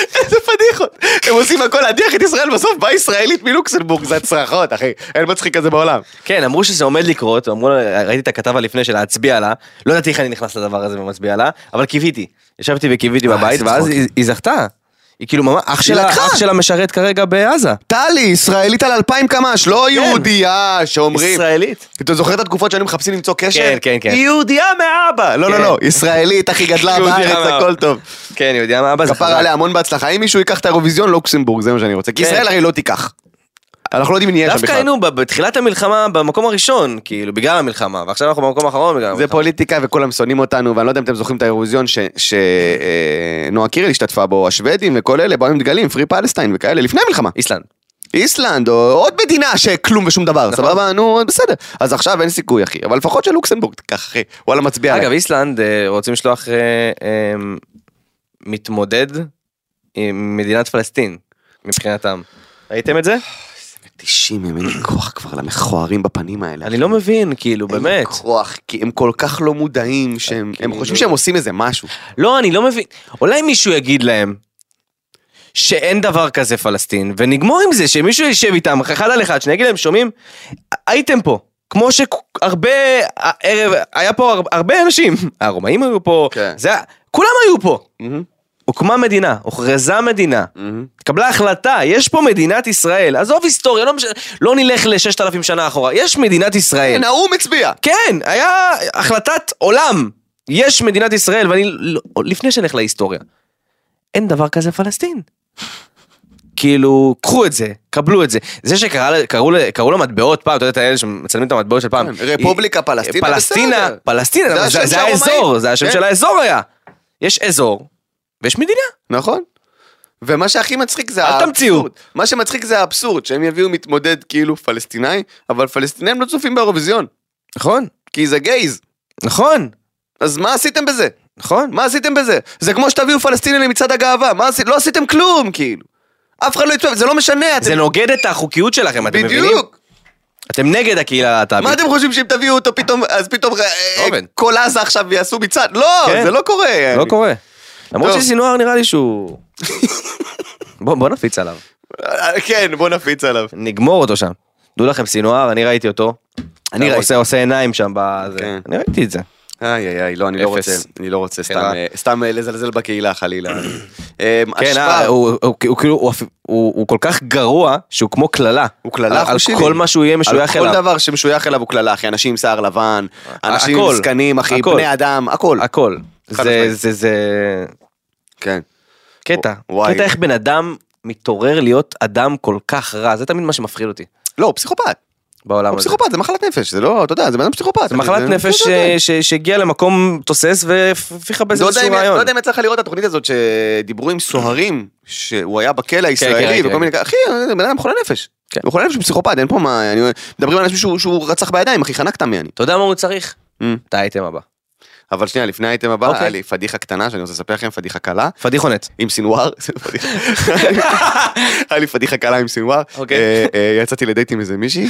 B: איזה פדיחות. הם עושים הכל להדיח את ישראל, בסוף באה ישראלית מלוקסמבורג, זה הצרחות, אחי. אין מצחיק כזה בעולם.
C: כן, אמרו שזה עומד לקרות, אמרו, לה- ראיתי את הכתבה לפני של להצביע לה, לא ידעתי איך אני נכנס לדבר הזה ומצביע לה, אבל קיוויתי. ישבתי וקיוויתי בבית,
B: איזה
C: ואז
B: אה, צחוק.
C: היא היא זכתה. היא כאילו ממש, אח שלה,
B: לקחה.
C: אח שלה משרת כרגע בעזה.
B: טלי, ישראלית על 2,000 קמ"ש,
C: כן.
B: לא יהודייה שאומרים.
C: ישראלית.
B: אתה זוכר את התקופות שהיינו מחפשים למצוא קשר?
C: כן, כן, כן.
B: היא יהודייה מאבא! לא, לא,
C: כן.
B: לא, ישראלית, אחי, גדלה
C: יהודייה
B: בארץ,
C: מאבא.
B: הכל טוב.
C: כן, היא יודעה מה אבא זה
B: כפר עליה המון בהצלחה. אם מישהו ייקח את האירוויזיון, לוקסמבורג, זה מה שאני רוצה. כי
C: כן.
B: ישראל הרי לא תיקח. אנחנו לא יודעים אם נהיה שם
C: דווקא
B: בכלל.
C: היינו ב- בתחילת המלחמה במקום הראשון, כאילו, בגלל המלחמה, ועכשיו אנחנו במקום האחרון בגלל
B: זה
C: המלחמה.
B: פוליטיקה וכולם שונאים אותנו, ואני לא יודע אם אתם זוכרים את האירוויזיון שנועה קירל השתתפה בו, השוודים וכל אלה, באו עם דגלים, פרי פלסטיין וכאלה, לפני המלחמה.
C: איסלנד.
B: איסלנד, או עוד מדינה שכלום ושום דבר,
C: נכון.
B: סבבה? נו, בסדר. אז עכשיו אין סיכוי, אחי. אבל לפחות שלוקסמבורג תיקח, אחי. וואלה, מצביע
C: אגב,
B: עליי.
C: איסלנד אה, רוצים לשלוח אה, אה, מתמודד עם מדינת פלסטין, מבחינתם. ראיתם את זה?
B: מתישים, הם אין לי כוח כבר למכוערים בפנים האלה.
C: אני לא מבין, כאילו,
B: אין לי
C: באמת. אה, כאילו-
B: כוח, כי הם כל כך לא מודעים, שהם הם חושבים שהם עושים איזה משהו.
C: לא, אני לא מבין. אולי מישהו יגיד להם שאין דבר כזה פלסטין, ונגמור עם זה, שמישהו יישב איתם אחד על אחד, שאני אגיד להם, שומעים? הייתם פה. כמו שהרבה ערב, היה פה הר- הרבה אנשים, הרומאים היו פה,
B: כן.
C: זה היה, כולם היו פה. הוקמה מדינה, הוכרזה מדינה,
B: מהמם.
C: התקבלה החלטה, יש פה מדינת ישראל, עזוב היסטוריה, לא, מש... לא נלך לששת אלפים שנה אחורה, יש מדינת ישראל.
B: כן, האו"ם הצביע.
C: כן, היה החלטת עולם, יש מדינת ישראל, ואני, לא, לפני שנלך להיסטוריה, אין דבר כזה פלסטין. כאילו, קחו את זה, קבלו את זה. זה שקראו ל- קראו למטבעות פעם, אתה יודע את האלה שמצלמים את המטבעות של פעם.
B: כן, רפובליקה פלסטינה,
C: פלסטינה,
B: בסדר.
C: פלסטינה,
B: זה
C: אבל
B: השם
C: זה זה
B: שהרומאים.
C: האזור, זה השם
B: כן.
C: של האזור היה. יש אזור, ויש מדינה.
B: נכון. ומה שהכי מצחיק זה
C: אל
B: האבסורד.
C: תמציאו.
B: מה שמצחיק זה האבסורד, שהם יביאו מתמודד כאילו פלסטינאי, אבל פלסטינאים לא צופים באירוויזיון,
C: נכון,
B: כי זה גייז.
C: נכון,
B: אז מה עשיתם בזה?
C: נכון.
B: מה עשיתם בזה? זה כמו שתביאו פלסטיני למצעד הגאווה, מה עשיתם? לא עשיתם כלום, כאילו. אף אחד לא יצפה, זה לא משנה, אתם...
C: זה נוגד את החוקיות שלכם, אתם מבינים?
B: בדיוק.
C: אתם נגד הקהילה
B: מה
C: הלהט"בית.
B: אתם חושבים שאם תביאו אותו פתאום, אז פתאום אה,
C: לא עובד.
B: כל עזה עכשיו יעשו מצעד? לא,
C: כן.
B: זה לא קורה.
C: לא קורה. למרות
B: טוב.
C: שסינואר נראה לי שהוא... בוא בוא נפיץ עליו,
B: אה, כן, בוא נפיץ עליו.
C: נגמור אותו שם. דעו לכם סינואר, אני ראיתי אותו. אני
B: ראית.
C: עושה עושה עיניים שם, בזה.
B: כן.
C: אני ראיתי את זה.
B: איי איי איי, לא, אני לא
C: אפס.
B: רוצה, אני לא רוצה סתם
C: רע.
B: אה, סתם אה, לזלזל בקהילה חלילה. אה,
C: כן,
B: השפעה-
C: אה, הוא הוא- הוא כאילו, הוא אפ- הוא הוא כל כך גרוע, שהוא כמו קללה.
B: הוא קללה,
C: על- על
B: אחי שלי.
C: כל מה שהוא יהיה
B: על
C: משוייך אליו.
B: כל דבר שמשוייך אליו הוא קללה, אחי, אנשים עם שיער לבן, אנשים עם
C: הכל.
B: זקנים, אחי,
C: הכל.
B: בני אדם, הכל.
C: הכל.
B: חד
C: זה,
B: משמעית.
C: זה, זה
B: כן.
C: קטע.
B: וואי.
C: קטע איך בן אדם מתעורר להיות אדם כל כך רע, זה תמיד מה שמפחיד אותי
B: לא, הוא פסיכופת.
C: בעולם
B: הוא
C: הזה.
B: פסיכופת, זה מחלת נפש, זה לא, אתה יודע, זה בן אדם פסיכופת.
C: זה מחלת נפש אה,
B: כן, כן, כן.
C: ש- ש- שהגיעה למקום תוסס והפיכה באיזה
B: לא יודע
C: איזשהו
B: אם-
C: רעיון.
B: לא יודע אם יצא לך לראות את התוכנית הזאת שדיברו עם סוהרים, שהוא היה
C: כן,
B: בכלא הישראלי
C: ראיתי,
B: וכל מיני,
C: ראיתי.
B: כאלה. אחי, זה בן אדם חולה נפש.
C: כן.
B: הוא חולה נפש, הוא פסיכופת, אין פה מה, אני- מדברים על אנשים שהוא- שהוא רצח בידיים, אחי, חנק אותם יעני.
C: אתה יודע מה הוא צריך?
B: Mm.
C: את האייטם הבא.
B: אבל שנייה, לפני האייטם הבא,
C: אוקיי.
B: היה לי פדיחה קטנה שאני רוצה לספר לכם, פדיחה קלה,
C: פדיחונת.
B: עם סינואר. היה לי פדיחה קלה עם סינואר.
C: אוקיי.
B: אה, אה, יצאתי לדייט עם איזה מישהי.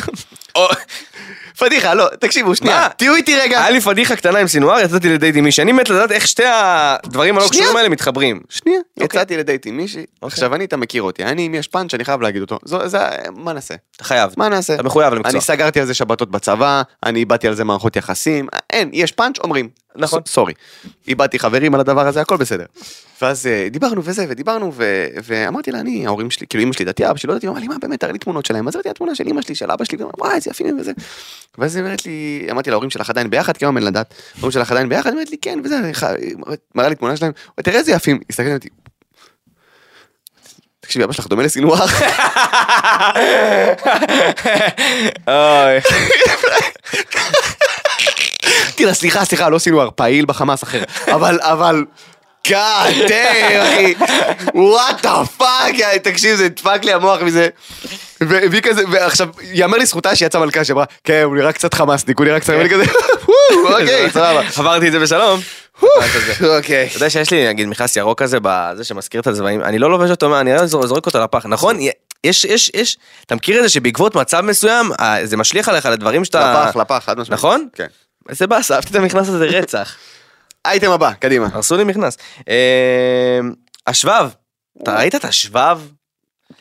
B: פדיחה, לא, תקשיבו, שנייה,
C: מה?
B: תהיו איתי רגע.
C: היה לי פדיחה קטנה עם סינואר, יצאתי לדייט עם מישהי. אני מת לדעת איך שתי הדברים הלא
B: שנייה.
C: קשורים האלה מתחברים.
B: שנייה,
C: אוקיי.
B: יצאתי לדייט עם מישהי, עכשיו אני, אתה מכיר אותי, אני, אם יש פאנץ' אני חייב להגיד אותו, זו- זה, מה נעשה?
C: אתה חייב.
B: מה נעשה?
C: אתה מחויב למקצוע.
B: אני סגרתי על זה שבתות בצבא, אני איבדתי על זה מערכות יחסים, אין, יש פאנץ', אומרים.
C: נכון.
B: ס- סורי. איבדתי חברים על הדבר הזה, הכל בסדר. ואז אה, דיברנו וזה, ודיברנו, ו- ואמרתי לה, אני, ההורים שלי, כאילו אמא שלי דתייה, אבא שלי לא דתי, הוא אמר לי, מה באמת, תראה לי תמונות שלהם, אז ראיתי התמונה של אמא שלי, של אבא שלי, וואי, איזה יפים הם וזה. ואז היא אומרת לי, אמרתי לה, ההורים שלך עדיין ביחד, כי היום אין לדעת, ההורים שלך עדיין ביחד, היא אומרת לי, כן, וזה, אני ח- היא מראה לי תמונה שלהם, תראה איזה יפים, הסתכלתי עליהם, תקשיבי, אבא שלך דומה לסינואר.
C: אוי.
B: תראה, סליחה, סליחה, לא סינואר, פעיל בחמאס אחר. אבל, אבל... God damn, אחי. What the fuck, יא, תקשיב, זה דפק לי המוח מזה. ו- והיא כזה, ועכשיו, יאמר לזכותה שהיא יצאה מלכה שאמרה, כן, הוא נראה קצת חמאסניק, הוא נראה קצת... ואני כזה, "וואו, אוקיי, סבבה.
C: עברתי את זה בשלום.
B: אוקיי.
C: אתה יודע שיש לי נגיד מכנס ירוק כזה, בזה שמזכיר את הצבעים, אני לא לובש אותו, מה, אני רק זור- זורק אותו לפח, נכון? יש, יש, יש, אתה מכיר את זה שבעקבות מצב מסוים, אה, זה משליך עליך לדברים שאתה...
B: לפח, לפח, חד משמעית.
C: נכון?
B: כן.
C: זה באסה, אהבתי את המכנס הזה רצח.
B: אייטם הבא, קדימה.
C: הרסו לי מכנס. אה, השבב, אתה ראית את השבב?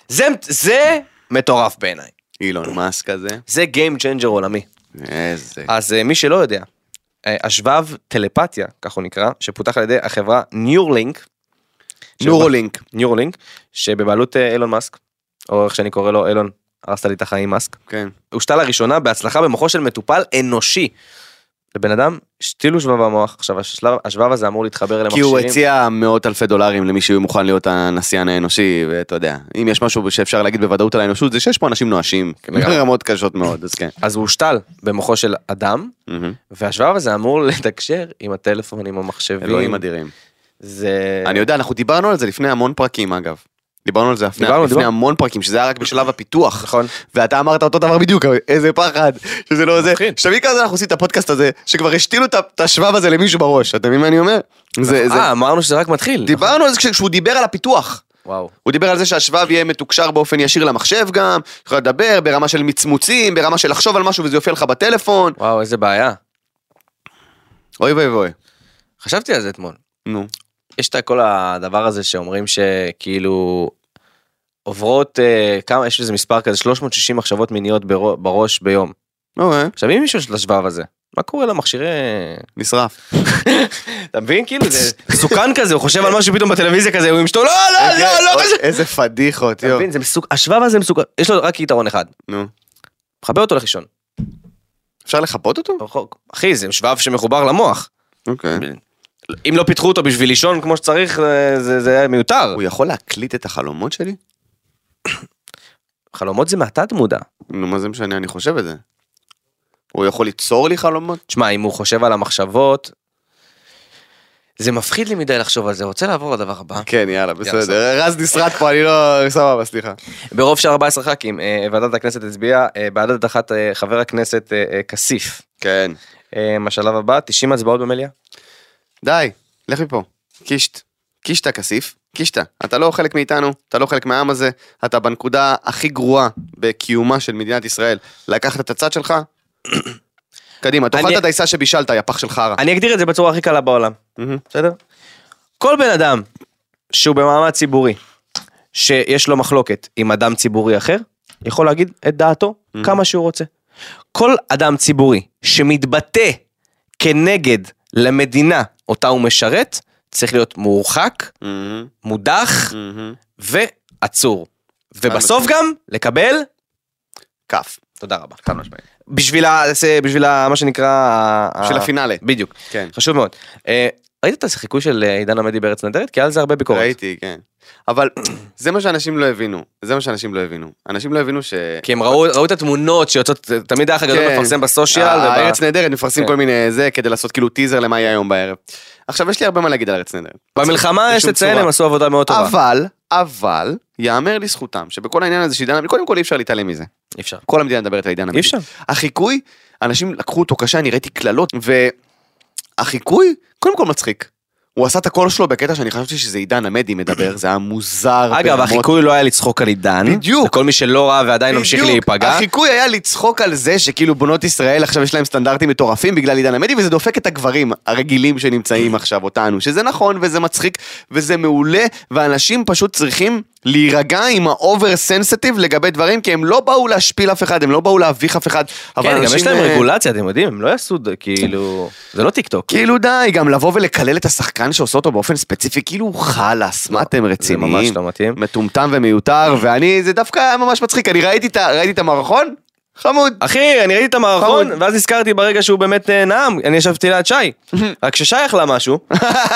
C: זה, זה מטורף בעיניי.
B: אילון מאסק הזה.
C: זה Game Changer עולמי.
B: איזה...
C: אז אה, מי שלא יודע, אה, השבב טלפתיה, כך הוא נקרא, שפותח על ידי החברה ניורלינק.
B: נורולינק.
C: ניורלינק, שבבעלות אה, אילון מאסק, או איך שאני קורא לו, אילון, הרסת לי את החיים מאסק,
B: כן.
C: הושתל לראשונה בהצלחה במוחו של מטופל אנושי. לבן אדם השתילו שבב במוח, עכשיו השלב, השבב הזה אמור להתחבר
B: כי
C: למכשירים.
B: הוא הציע מאות אלפי דולרים למי שיהיה מוכן להיות הנסיין האנושי, ואתה יודע, אם יש משהו שאפשר להגיד בוודאות על האנושות, זה שיש פה אנשים נואשים,
C: כן, לגמרי.
B: ברמות קשות מאוד, אז כן.
C: אז הוא הושתל במוחו של אדם, והשבב הזה אמור לתקשר עם הטלפון, עם המחשבים.
B: אלוהים אדירים.
C: זה...
B: אני יודע, אנחנו דיברנו על זה לפני המון פרקים אגב. דיברנו על זה לפני-
C: דיברנו,
B: לפני
C: דיברנו.
B: המון פרקים, שזה היה רק בשלב הפיתוח.
C: נכון.
B: ואתה אמרת אותו דבר בדיוק, אבל איזה פחד, שזה לא זה.
C: מפחיד.
B: שתבין כמה זמן אנחנו עושים את הפודקאסט הזה, שכבר השתילו את ה- את השבב הזה למישהו בראש, אתה מבין מה אני אומר? זה, זה,
C: אה, אמרנו שזה רק מתחיל.
B: דיברנו על זה כש- כשהוא דיבר על הפיתוח.
C: וואו.
B: הוא דיבר על זה שהשבב יהיה מתוקשר באופן ישיר למחשב גם, יכול לדבר ברמה של מצמוצים, ברמה של לחשוב על משהו וזה יופיע לך בטלפון.
C: וואו, איזה בעיה.
B: אוי ואי ואוי.
C: חשבתי על זה אתמול.
B: נו.
C: יש את כל הדבר הזה שאומרים שכאילו עוברות אה, כמה יש איזה מספר כזה 360 מחשבות מיניות ברו- בראש ביום.
B: אוקיי.
C: עכשיו אם מישהו יש לו את השבב הזה מה קורה למכשירי...
B: נשרף.
C: אתה מבין? כאילו זה מסוכן כזה, הוא חושב על משהו פתאום בטלוויזיה כזה, הוא עם אשתו, לא,
B: אוקיי,
C: לא, לא, לא, כזה.
B: איזה פדיחות,
C: אתה
B: יו.
C: מבין? זה מסוכן, השבב הזה מסוכן, יש לו רק יתרון אחד,
B: נו.
C: מחבר אותו לחישון.
B: אפשר לחפות אותו?
C: רחוק. אחי, זה שבב שמחובר למוח.
B: אוקיי.
C: אם לא פיתחו אותו בשביל לישון כמו שצריך, אה, זה זה היה מיותר.
B: הוא יכול להקליט את החלומות שלי?
C: חלומות זה מהתת מודע.
B: נו, מה זה משנה, אני חושב את זה. הוא יכול ליצור לי חלומות?
C: תשמע, אם הוא חושב על המחשבות... זה מפחיד לי מדי לחשוב על זה, רוצה לעבור לדבר הבא.
B: כן, יאללה,
C: סבבה.
B: בסדר. רז נסרט פה, אני לא... סבבה, סליחה.
C: ברוב של 14 ח"כים, אה, ועדת הכנסת הצביעה אה, בעד הדחת אה, חבר הכנסת אה, אה, כסיף.
B: כן.
C: אה, השלב הבא, 90 הצבעות במליאה.
B: די, לך מפה. קישט. קישטה כסיף. קישטה. אתה לא חלק מאיתנו, אתה לא חלק מהעם הזה, אתה בנקודה הכי גרועה בקיומה של מדינת ישראל. לקחת את הצד שלך? קדימה, תאכל
C: אני-
B: את הדייסה שבישלת, יא פח של חרא.
C: אני אגדיר את זה בצורה הכי קלה בעולם,
B: מהמם.
C: בסדר? כל בן אדם שהוא במעמד ציבורי, שיש לו מחלוקת עם אדם ציבורי אחר, יכול להגיד את דעתו כמה שהוא רוצה. כל אדם ציבורי שמתבטא כנגד למדינה אותה הוא משרת, צריך להיות מורחק,
B: מהמם,
C: מודח
B: מהמם.
C: ועצור. ובסוף גם לקבל,
B: כף.
C: תודה רבה.
B: חד משמעית.
C: בשביל ה... זה- בשביל ה... מה שנקרא... ה-
B: של
C: ה-
B: הפינאלה.
C: בדיוק.
B: כן.
C: חשוב מאוד. אה, ראית את החיקוי של אה, עידן עמדי בארץ נהדרת? כי היה על זה הרבה ביקורת.
B: ראיתי, כן. אבל זה מה שאנשים לא הבינו. זה מה שאנשים לא הבינו. אנשים לא הבינו ש...
C: כי הם ראו ראו את התמונות שיוצאות, אה, תמיד האח הגדול
B: כן.
C: מפרסם בסושיאל. וב-
B: הארץ נהדרת מפרסמים
C: כן.
B: כל מיני זה כדי לעשות כאילו טיזר למה יהיה היום בערב. עכשיו יש לי הרבה מה להגיד על ארץ נהדרת.
C: במלחמה יש
B: בשום
C: לציין,
B: צורה.
C: הם עשו עבודה מאוד טובה.
B: אבל, אבל, יאמר לזכותם שבכל העניין הזה של עידן עמית, קודם כל אי אפשר להתעלם מזה.
C: אי אפשר.
B: כל המדינה מדברת על עידן עמית.
C: אי אפשר.
B: החיקוי, אנשים לקחו אותו קשה, אני ראיתי קללות, והחיקוי, קודם כל מצחיק. הוא עשה את הקול שלו בקטע שאני חשבתי שזה עידן עמדי מדבר, זה היה מוזר.
C: אגב,
B: ברמות.
C: החיקוי לא היה לצחוק על עידן.
B: בדיוק.
C: לכל מי שלא ראה ועדיין ממשיך
B: בדיוק.
C: להיפגע.
B: החיקוי היה לצחוק על זה שכאילו בנות ישראל עכשיו יש להם סטנדרטים מטורפים בגלל עידן עמדי וזה דופק את הגברים הרגילים שנמצאים עכשיו אותנו שזה נכון וזה מצחיק וזה מעולה ואנשים פשוט צריכים להירגע עם האובר סנסיטיב לגבי דברים כי הם לא באו להשפיל אף אחד הם לא באו להביך אף אחד אבל
C: כן, גם יש
B: אנשים,
C: להם
B: אה,
C: רגולציה, אתם יודעים, הם לא יעשו, ד- כאילו... זה לא טיק טוק.
B: כאילו די גם לבוא ולקלל את השחקן שעושה אותו באופן ספציפי כאילו חלאס מה אתם
C: זה ממש
B: רציניים
C: לא מתאים.
B: מטומטם ומיותר ואני זה דווקא היה ממש מצחיק אני ראיתי את ה- ראיתי את המערכון חמוד
C: אחי, אני ראיתי את המערכון,
B: חמוד.
C: ואז נזכרתי ברגע שהוא באמת אה, נאם, אני ישבתי ליד שי. רק ששי אכלה משהו,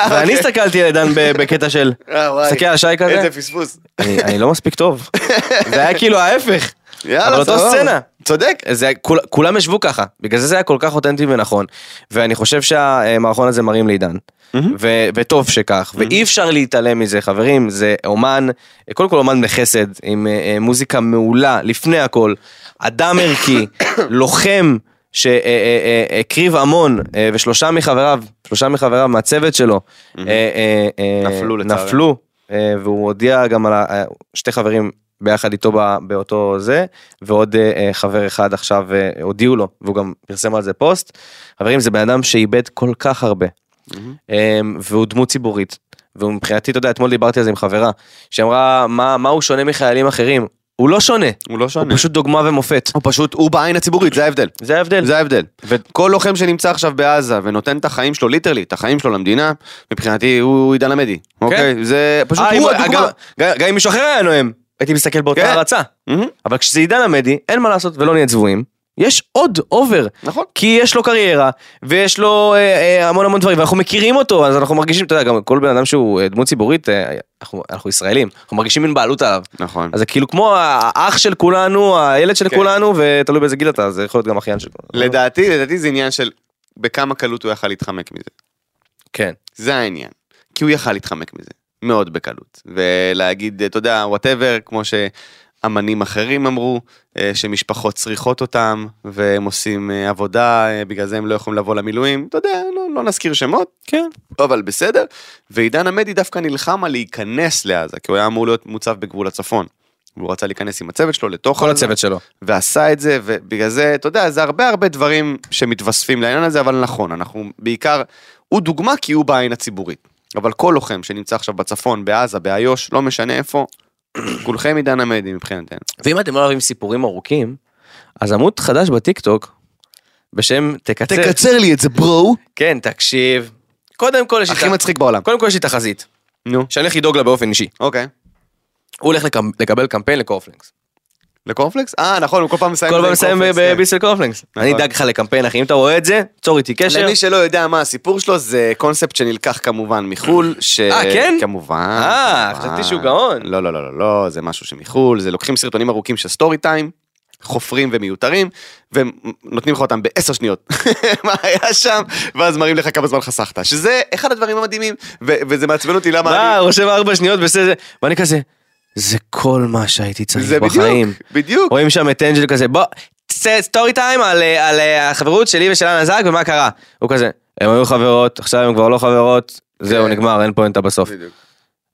C: ואני הסתכלתי על עידן ב- בקטע של...
B: אוקיי. אה, וואי.
C: מסתכל על שי כזה,
B: איזה פספוס.
C: אני אני לא מספיק טוב. זה היה כאילו ההפך.
B: יאללה,
C: אבל אותו
B: סבבה.
C: סצנה.
B: צודק.
C: זה, כול, כולם ישבו ככה, בגלל זה זה היה כל כך אותנטי ונכון, ואני חושב שהמערכון הזה מרים לעידן, ו- וטוב שכך, ואי אפשר להתעלם מזה, חברים, זה אומן, קודם כל אומן בחסד, עם אה, אה, מוזיקה מעולה, לפני הכל, אדם ערכי, לוחם. אה, שהקריב המון אה, ושלושה מחבריו, שלושה מחבריו מהצוות שלו אה, אה, אה,
B: נפלו לצערנו.
C: נפלו אה, והוא הודיע גם על ה- אה, שתי חברים ביחד איתו ב- באותו זה ועוד אה, אה, חבר אחד עכשיו אה, הודיעו לו והוא גם פרסם על זה פוסט. חברים זה בן אדם שאיבד כל כך הרבה אה, והוא דמות ציבורית. והוא מבחינתי אתה יודע אתמול דיברתי על זה עם חברה שאמרה מה מה הוא שונה מחיילים אחרים הוא לא שונה
B: הוא לא שונה.
C: הוא פשוט דוגמה ומופת
B: הוא פשוט, הוא בעין הציבורית, זה ההבדל.
C: זה ההבדל.
B: זה ההבדל. כל לוחם שנמצא עכשיו בעזה ונותן את החיים שלו, ליטרלי, את החיים שלו למדינה, מבחינתי הוא עידן עמדי. אוקיי? זה פשוט
C: אה, אם-
B: הוא הדוגמה.
C: גם- גם גם אם מישהו אחר היה נואם הייתי מסתכל באותה
B: כן.
C: הרצה
B: מהמם.
C: אבל כשזה עידן עמדי אין מה לעשות ולא נהיה צבועים יש עוד אובר
B: נכון.
C: כי יש לו קריירה, ויש לו אה, אה, המון המון דברים, ואנחנו מכירים אותו, אז אנחנו מרגישים, אתה יודע, גם כל בן אדם שהוא אה, דמות ציבורית, אה, אנחנו, אנחנו ישראלים, אנחנו מרגישים מין בעלות עליו.
B: נכון.
C: אז זה כאילו כמו האח של כולנו, הילד של
B: כן.
C: כולנו, ותלוי באיזה גיל אתה, זה יכול להיות גם אחיין של כולנו.
B: לדעתי, לדעתי זה עניין של בכמה קלות הוא יכל להתחמק מזה.
C: כן.
B: זה העניין. כי הוא יכל להתחמק מזה, מאוד בקלות. ולהגיד, אתה יודע, וואטאבר, כמו שאמנים אחרים אמרו, אה, שמשפחות צריכות אותם, והם עושים אה, עבודה, אה, בגלל זה הם לא יכולים לבוא למילואים, אתה יודע, לא, לא נזכיר שמות,
C: כן.
B: אבל בסדר. ועידן עמדי דווקא נלחם על להיכנס לעזה, כי הוא היה אמור להיות מוצב בגבול הצפון. והוא רצה להיכנס עם הצוות שלו לתוך
C: כל
B: עזה.
C: הצוות שלו.
B: ועשה את זה, ובגלל זה, אתה יודע, זה הרבה הרבה דברים שמתווספים לעניין הזה, אבל נכון, אנחנו בעיקר, הוא דוגמה כי הוא בעין הציבורית. אבל כל לוחם שנמצא עכשיו בצפון, בעזה, באיו"ש, לא משנה איפה, כולכם עידן עמדי מבחינתנו.
C: ואם אתם לא אוהבים סיפורים ארוכים, אז עמוד חדש בטיקטוק בשם תקצר.
D: תקצר לי את זה, ברו.
C: כן, תקשיב. קודם כל יש לי
B: הכי
C: ת-
B: מצחיק בעולם.
C: קודם כל יש לי תחזית,
B: נו.
C: שאני הולך לדאוג לה באופן אישי.
B: אוקיי.
C: הוא הולך לקמ- לקבל קמפיין לקורפלקס.
B: לקורנפלקס? אה, נכון, הוא כל פעם מסיים
C: כל
B: את זה
C: פעם
B: עם
C: מסיים
B: קורנפלקס, כן.
C: בביסל קורפלקס.
B: נכון.
C: אני אדאג לך לקמפיין, אחי, אם אתה רואה את זה, צור איתי קשר.
B: למי שלא יודע מה הסיפור שלו, זה קונספט שנלקח כמובן מחו"ל, ש...
C: אה, כן?
B: כמובן.
C: אה,
B: כמובן.
C: חשבתי שהוא גאון.
B: לא, לא, לא, לא, לא, זה משהו שמחו"ל, זה לוקחים סרטונים ארוכים של סטורי טיים, חופרים ומיותרים, ונותנים לך אותם בעשר שניות. מה היה שם, ואז מראים לך כמה זמן חסכת, שזה אחד הדברים המדהימים, ו- וזה מעצבן אותי למה
C: מה,
B: אני...
C: הוא יושב ארבע שניות בסדר, ואני כזה, זה כל מה שהייתי צריך
B: זה בדיוק,
C: בחיים.
B: בדיוק.
C: רואים שם את אנג'ל כזה, בוא, סטורי טיים על, אה, על אה, החברות שלי ושל הנזק ומה קרה. הוא כזה, הם היו חברות, עכשיו הם כבר לא חברות, זהו,
B: כן.
C: נגמר, אין פואנטה בסוף.
B: בדיוק.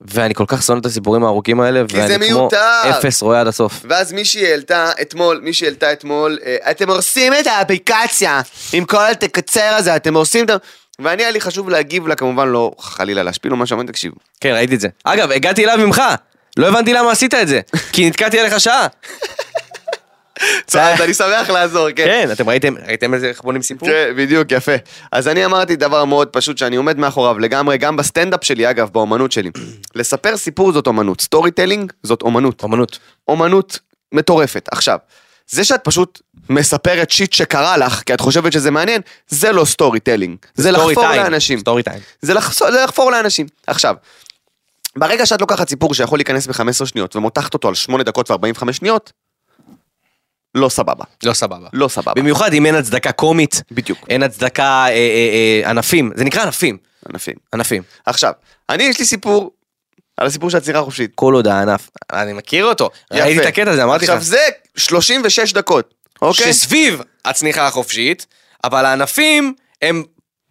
C: ואני כל כך שונא את הסיפורים הארוכים האלה,
B: כי זה
C: ואני כמו
B: מיותר.
C: אפס רואה עד הסוף.
B: ואז מישהי העלתה אתמול, מישהי העלתה אתמול, אה, אתם הורסים את האפליקציה עם כל התקצר הזה, אתם הורסים את ה... ואני היה לי חשוב להגיב לה, כמובן לא חלילה להשפיל או משהו, אמרתי תקשיבו.
C: כן, ראיתי את זה. אגב, הגעתי אליו ממך, לא הבנתי למה עשית את זה, כי נתקעתי עליך שעה.
B: אז אני שמח לעזור, כן.
C: כן, אתם ראיתם, ראיתם איזה איך בונים סיפור?
B: כן, בדיוק, יפה. אז אני אמרתי דבר מאוד פשוט שאני עומד מאחוריו לגמרי, גם בסטנדאפ שלי, אגב, באומנות שלי. לספר סיפור זאת אומנות, סטורי טלינג זאת אומנות.
C: אמנות.
B: אומנות מטורפת. עכשיו, זה שאת פשוט מספרת שיט שקרה לך, כי את חושבת שזה מעניין, זה לא סטורי טלינג. זה לחפור לאנשים.
C: סטורי טיים.
B: זה, לחס... זה לחפור לאנשים. עכשיו, ברגע שאת לוקחת סיפור שיכול להיכנס ב-15 שניות ומותחת אותו על 8 דקות ו-45 שניות, לא סבבה.
C: לא סבבה.
B: לא סבבה.
C: במיוחד אם אין הצדקה קומית,
B: בדיוק.
C: אין הצדקה אה, אה, אה, ענפים, זה נקרא ענפים,
B: ענפים.
C: ענפים.
B: עכשיו, אני יש לי סיפור על הסיפור של הצניחה החופשית.
C: כל עוד הענף, אני מכיר אותו, ראיתי את
B: יפה.
C: הקטע הזה, אמרתי לך,
B: עכשיו זה 36 דקות, אוקיי?
C: שסביב הצניחה החופשית, אבל הענפים הם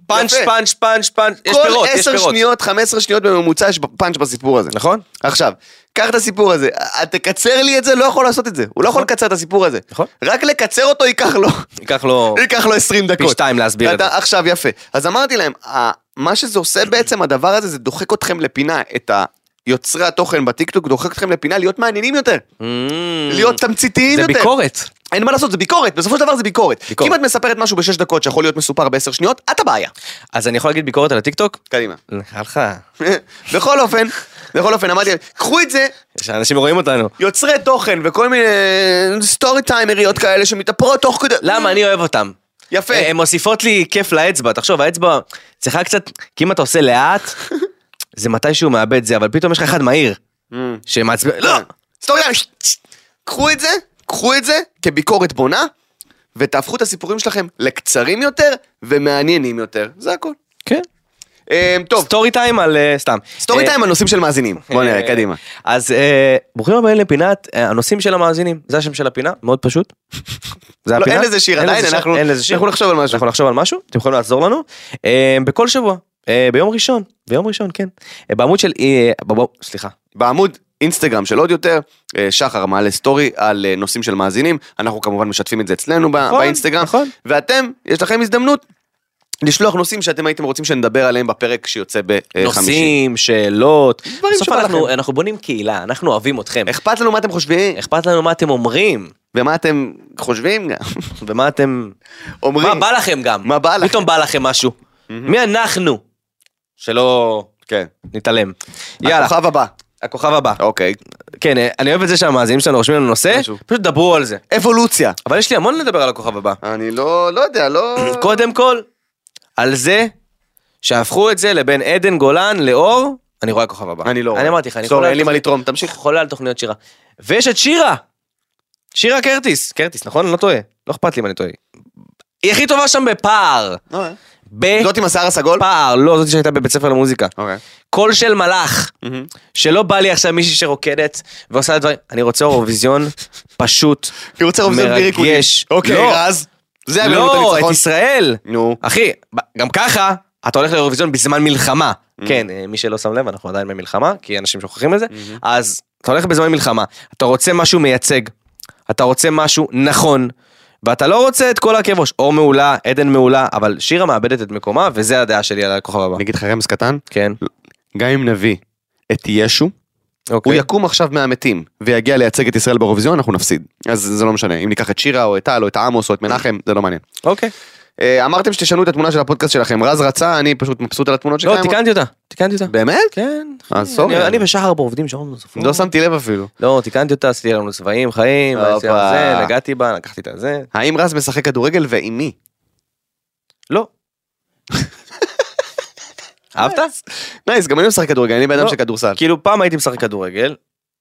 C: פאנץ'
B: יפה.
C: פאנץ' פאנץ' פאנץ', יש
B: כל
C: פירות, יש
B: 10
C: פירות.
B: שניות, 15 שניות בממוצע יש פאנץ' בסיפור הזה.
C: נכון?
B: עכשיו, קח את הסיפור הזה, אה, תקצר לי את זה, לא יכול לעשות את זה. הוא לא יכול לקצר את הסיפור הזה.
C: נכון.
B: רק לקצר אותו ייקח לו.
C: ייקח לו
B: ייקח לו 20 דקות.
C: פי שתיים להסביר את זה.
B: אתה- עכשיו יפה. אז אמרתי להם, ה- מה שזה עושה בעצם, הדבר הזה, זה דוחק אתכם לפינה, את ה... יוצרי התוכן בטיקטוק דוחק אתכם לפינה להיות מעניינים יותר, להיות תמציתיים
C: Mm, זה
B: יותר.
C: ביקורת.
B: אין מה לעשות, זה ביקורת, בסופו של דבר זה ביקורת.
C: ביקורת.
B: כי אם את מספרת משהו בשש דקות שיכול להיות מסופר בעשר שניות, את הבעיה.
C: אז אני יכול להגיד ביקורת על הטיקטוק?
B: קדימה.
C: נראה לך.
B: בכל אופן, בכל אופן אמרתי להם, קחו את זה,
C: שאנשים רואים אותנו.
B: יוצרי תוכן וכל מיני סטורי טיימריות כאלה שמתאפרות תוך כדי... Mm,
C: למה? אני אוהב אותם.
B: יפה.
C: הן מוסיפות לי כיף לאצבע, תחשוב, האצבע צריכה קצת, כי אם אתה עושה לאט, זה מתישהו מאבד זה, אבל פתאום יש לך אחד מהיר,
B: Mm.
C: שמעצבן, לא!
B: אה. סטורי טיים, קחו את זה, קחו את זה כביקורת בונה, ותהפכו את הסיפורים שלכם לקצרים יותר ומעניינים יותר, זה הכל.
C: כן.
B: אה, טוב,
C: סטורי טיים על, אה, סתם.
B: סטורי
C: אה,
B: טיים על נושאים של מאזינים, בוא נראה,
C: אה,
B: קדימה.
C: אז אה, ברוכים הבאים לפינת אה, הנושאים של המאזינים, זה השם של הפינה, מאוד פשוט. זה
B: לא,
C: הפינה.
B: אין לזה שיר עדיין, אנחנו-
C: אין לזה שיר.
B: אנחנו נחשוב על משהו.
C: אנחנו נחשוב על משהו, אתם יכולים לעזור לנו. אה, בכל שבוע, אה, ביום ראשון, ביום ראשון, כן. אה, בעמוד של, אה, ב- סליחה,
B: בעמוד אינסטגרם של עוד יותר, אה, שחר מעלה סטורי על אה, נושאים של מאזינים, אנחנו כמובן משתפים את זה אצלנו ב-
C: נכון,
B: באינסטגרם,
C: נכון.
B: ואתם, יש לכם הזדמנות לשלוח נושאים שאתם הייתם רוצים שנדבר עליהם בפרק שיוצא אה, בחמישי.
C: נושאים, שאלות.
B: דברים
C: בסוף
B: שבא
C: אנחנו-
B: לכם.
C: אנחנו בונים קהילה, אנחנו אוהבים אתכם.
B: אכפת לנו מה אתם חושבים,
C: אכפת לנו מה אתם אומרים,
B: ומה אתם חושבים גם,
C: ומה אתם...
B: אומרים.
C: מה בא לכם גם.
B: מה בא לכם?
C: פתאום בא לכם משהו. מי אנחנו? שלא
B: כן.
C: נתעלם. לא- יאללה,
B: יאללה. הכוכב הבא.
C: הכוכב הבא.
B: אוקיי.
C: כן, אה, אני אוהב את זה שהמאזינים שלנו רושמים לנו נושא,
B: משהו.
C: פשוט דברו על זה.
B: אבולוציה.
C: אבל יש לי המון לדבר על הכוכב הבא.
B: אני לא, לא יודע, לא...
C: קודם כל, על זה שהפכו את זה לבין עדן גולן לאור, אני רואה כוכב הבא.
B: אני לא...
C: אני אמרתי לך, אני
B: סורי,
C: חולה
B: אין לי
C: על
B: מה
C: תוכניות-
B: לתרום, תמשיך.
C: חולה על תוכניות שירה. ויש את שירה! שירה קרטיס, קרטיס, נכון? אני לא טועה. לא אכפת לי אם אני טועה. היא הכי טובה שם בפער.
B: זאת עם השיער הסגול?
C: בפער, לא, זאת שהייתה בבית ספר למוזיקה.
B: אוקיי.
C: קול של מלאך.
B: מהמם.
C: שלא בא לי עכשיו מישהי שרוקדת ועושה דברים. אני רוצה אירוויזיון פשוט.
B: אני רוצה רוב זה בלי ריקודים.
C: מרגש.
B: אוקיי,
C: לא.
B: רז. זה היה לנו את
C: לא, את
B: הניצחון.
C: ישראל.
B: נו.
C: אחי, ב- גם ככה, אתה הולך לאירוויזיון בזמן מלחמה.
B: Mm-hmm.
C: כן, אה, מי שלא שם לב, אנחנו עדיין במלחמה, כי אנשים שוכחים את זה.
B: Mm-hmm.
C: אז אתה הולך בזמן מלחמה, אתה רוצה משהו מייצג, אתה רוצה משהו נכון, ואתה לא רוצה את כל הכאב ראש. אור מעולה, עדן מעולה, אבל שירה מאבדת את מקומה, וזה הדעה שלי על הכוכב הבא.
B: אני אגיד לך רמז קטן,
C: כן,
B: גם אם נביא את ישו, הוא
C: אוקיי.
B: יקום עכשיו מהמתים ויגיע לייצג את ישראל באירוויזיון, אנחנו נפסיד. אז זה לא משנה, אם ניקח את שירה או את טל או את עמוס או את מנחם, זה לא מעניין.
C: אוקיי.
B: אה, אמרתם שתשנו את התמונה של הפודקאסט שלכם, רז רצה, אני פשוט מבסוט על התמונות
C: לא,
B: שקיימות.
C: תיקנתי אותה, תיקנתי אותה.
B: באמת?
C: כן, אחי,
B: אז אה, סורי.
C: אני- אני ושחר פה עובדים שעות נוספות.
B: לא שמתי לב אפילו.
C: לא, תיקנתי אותה, עשיתי לנו צבעים, חיים,
B: הופה.
C: עשיתי על זה, נגעתי בה, לקחתי את הזה.
B: האם רז משחק כדורגל ועם מי?
C: לא. אהבת?
B: נייס, גם אני משחק כדורגל, אני בן אדם
C: לא.
B: של כדורסל.
C: כאילו פעם הייתי משחק כדורגל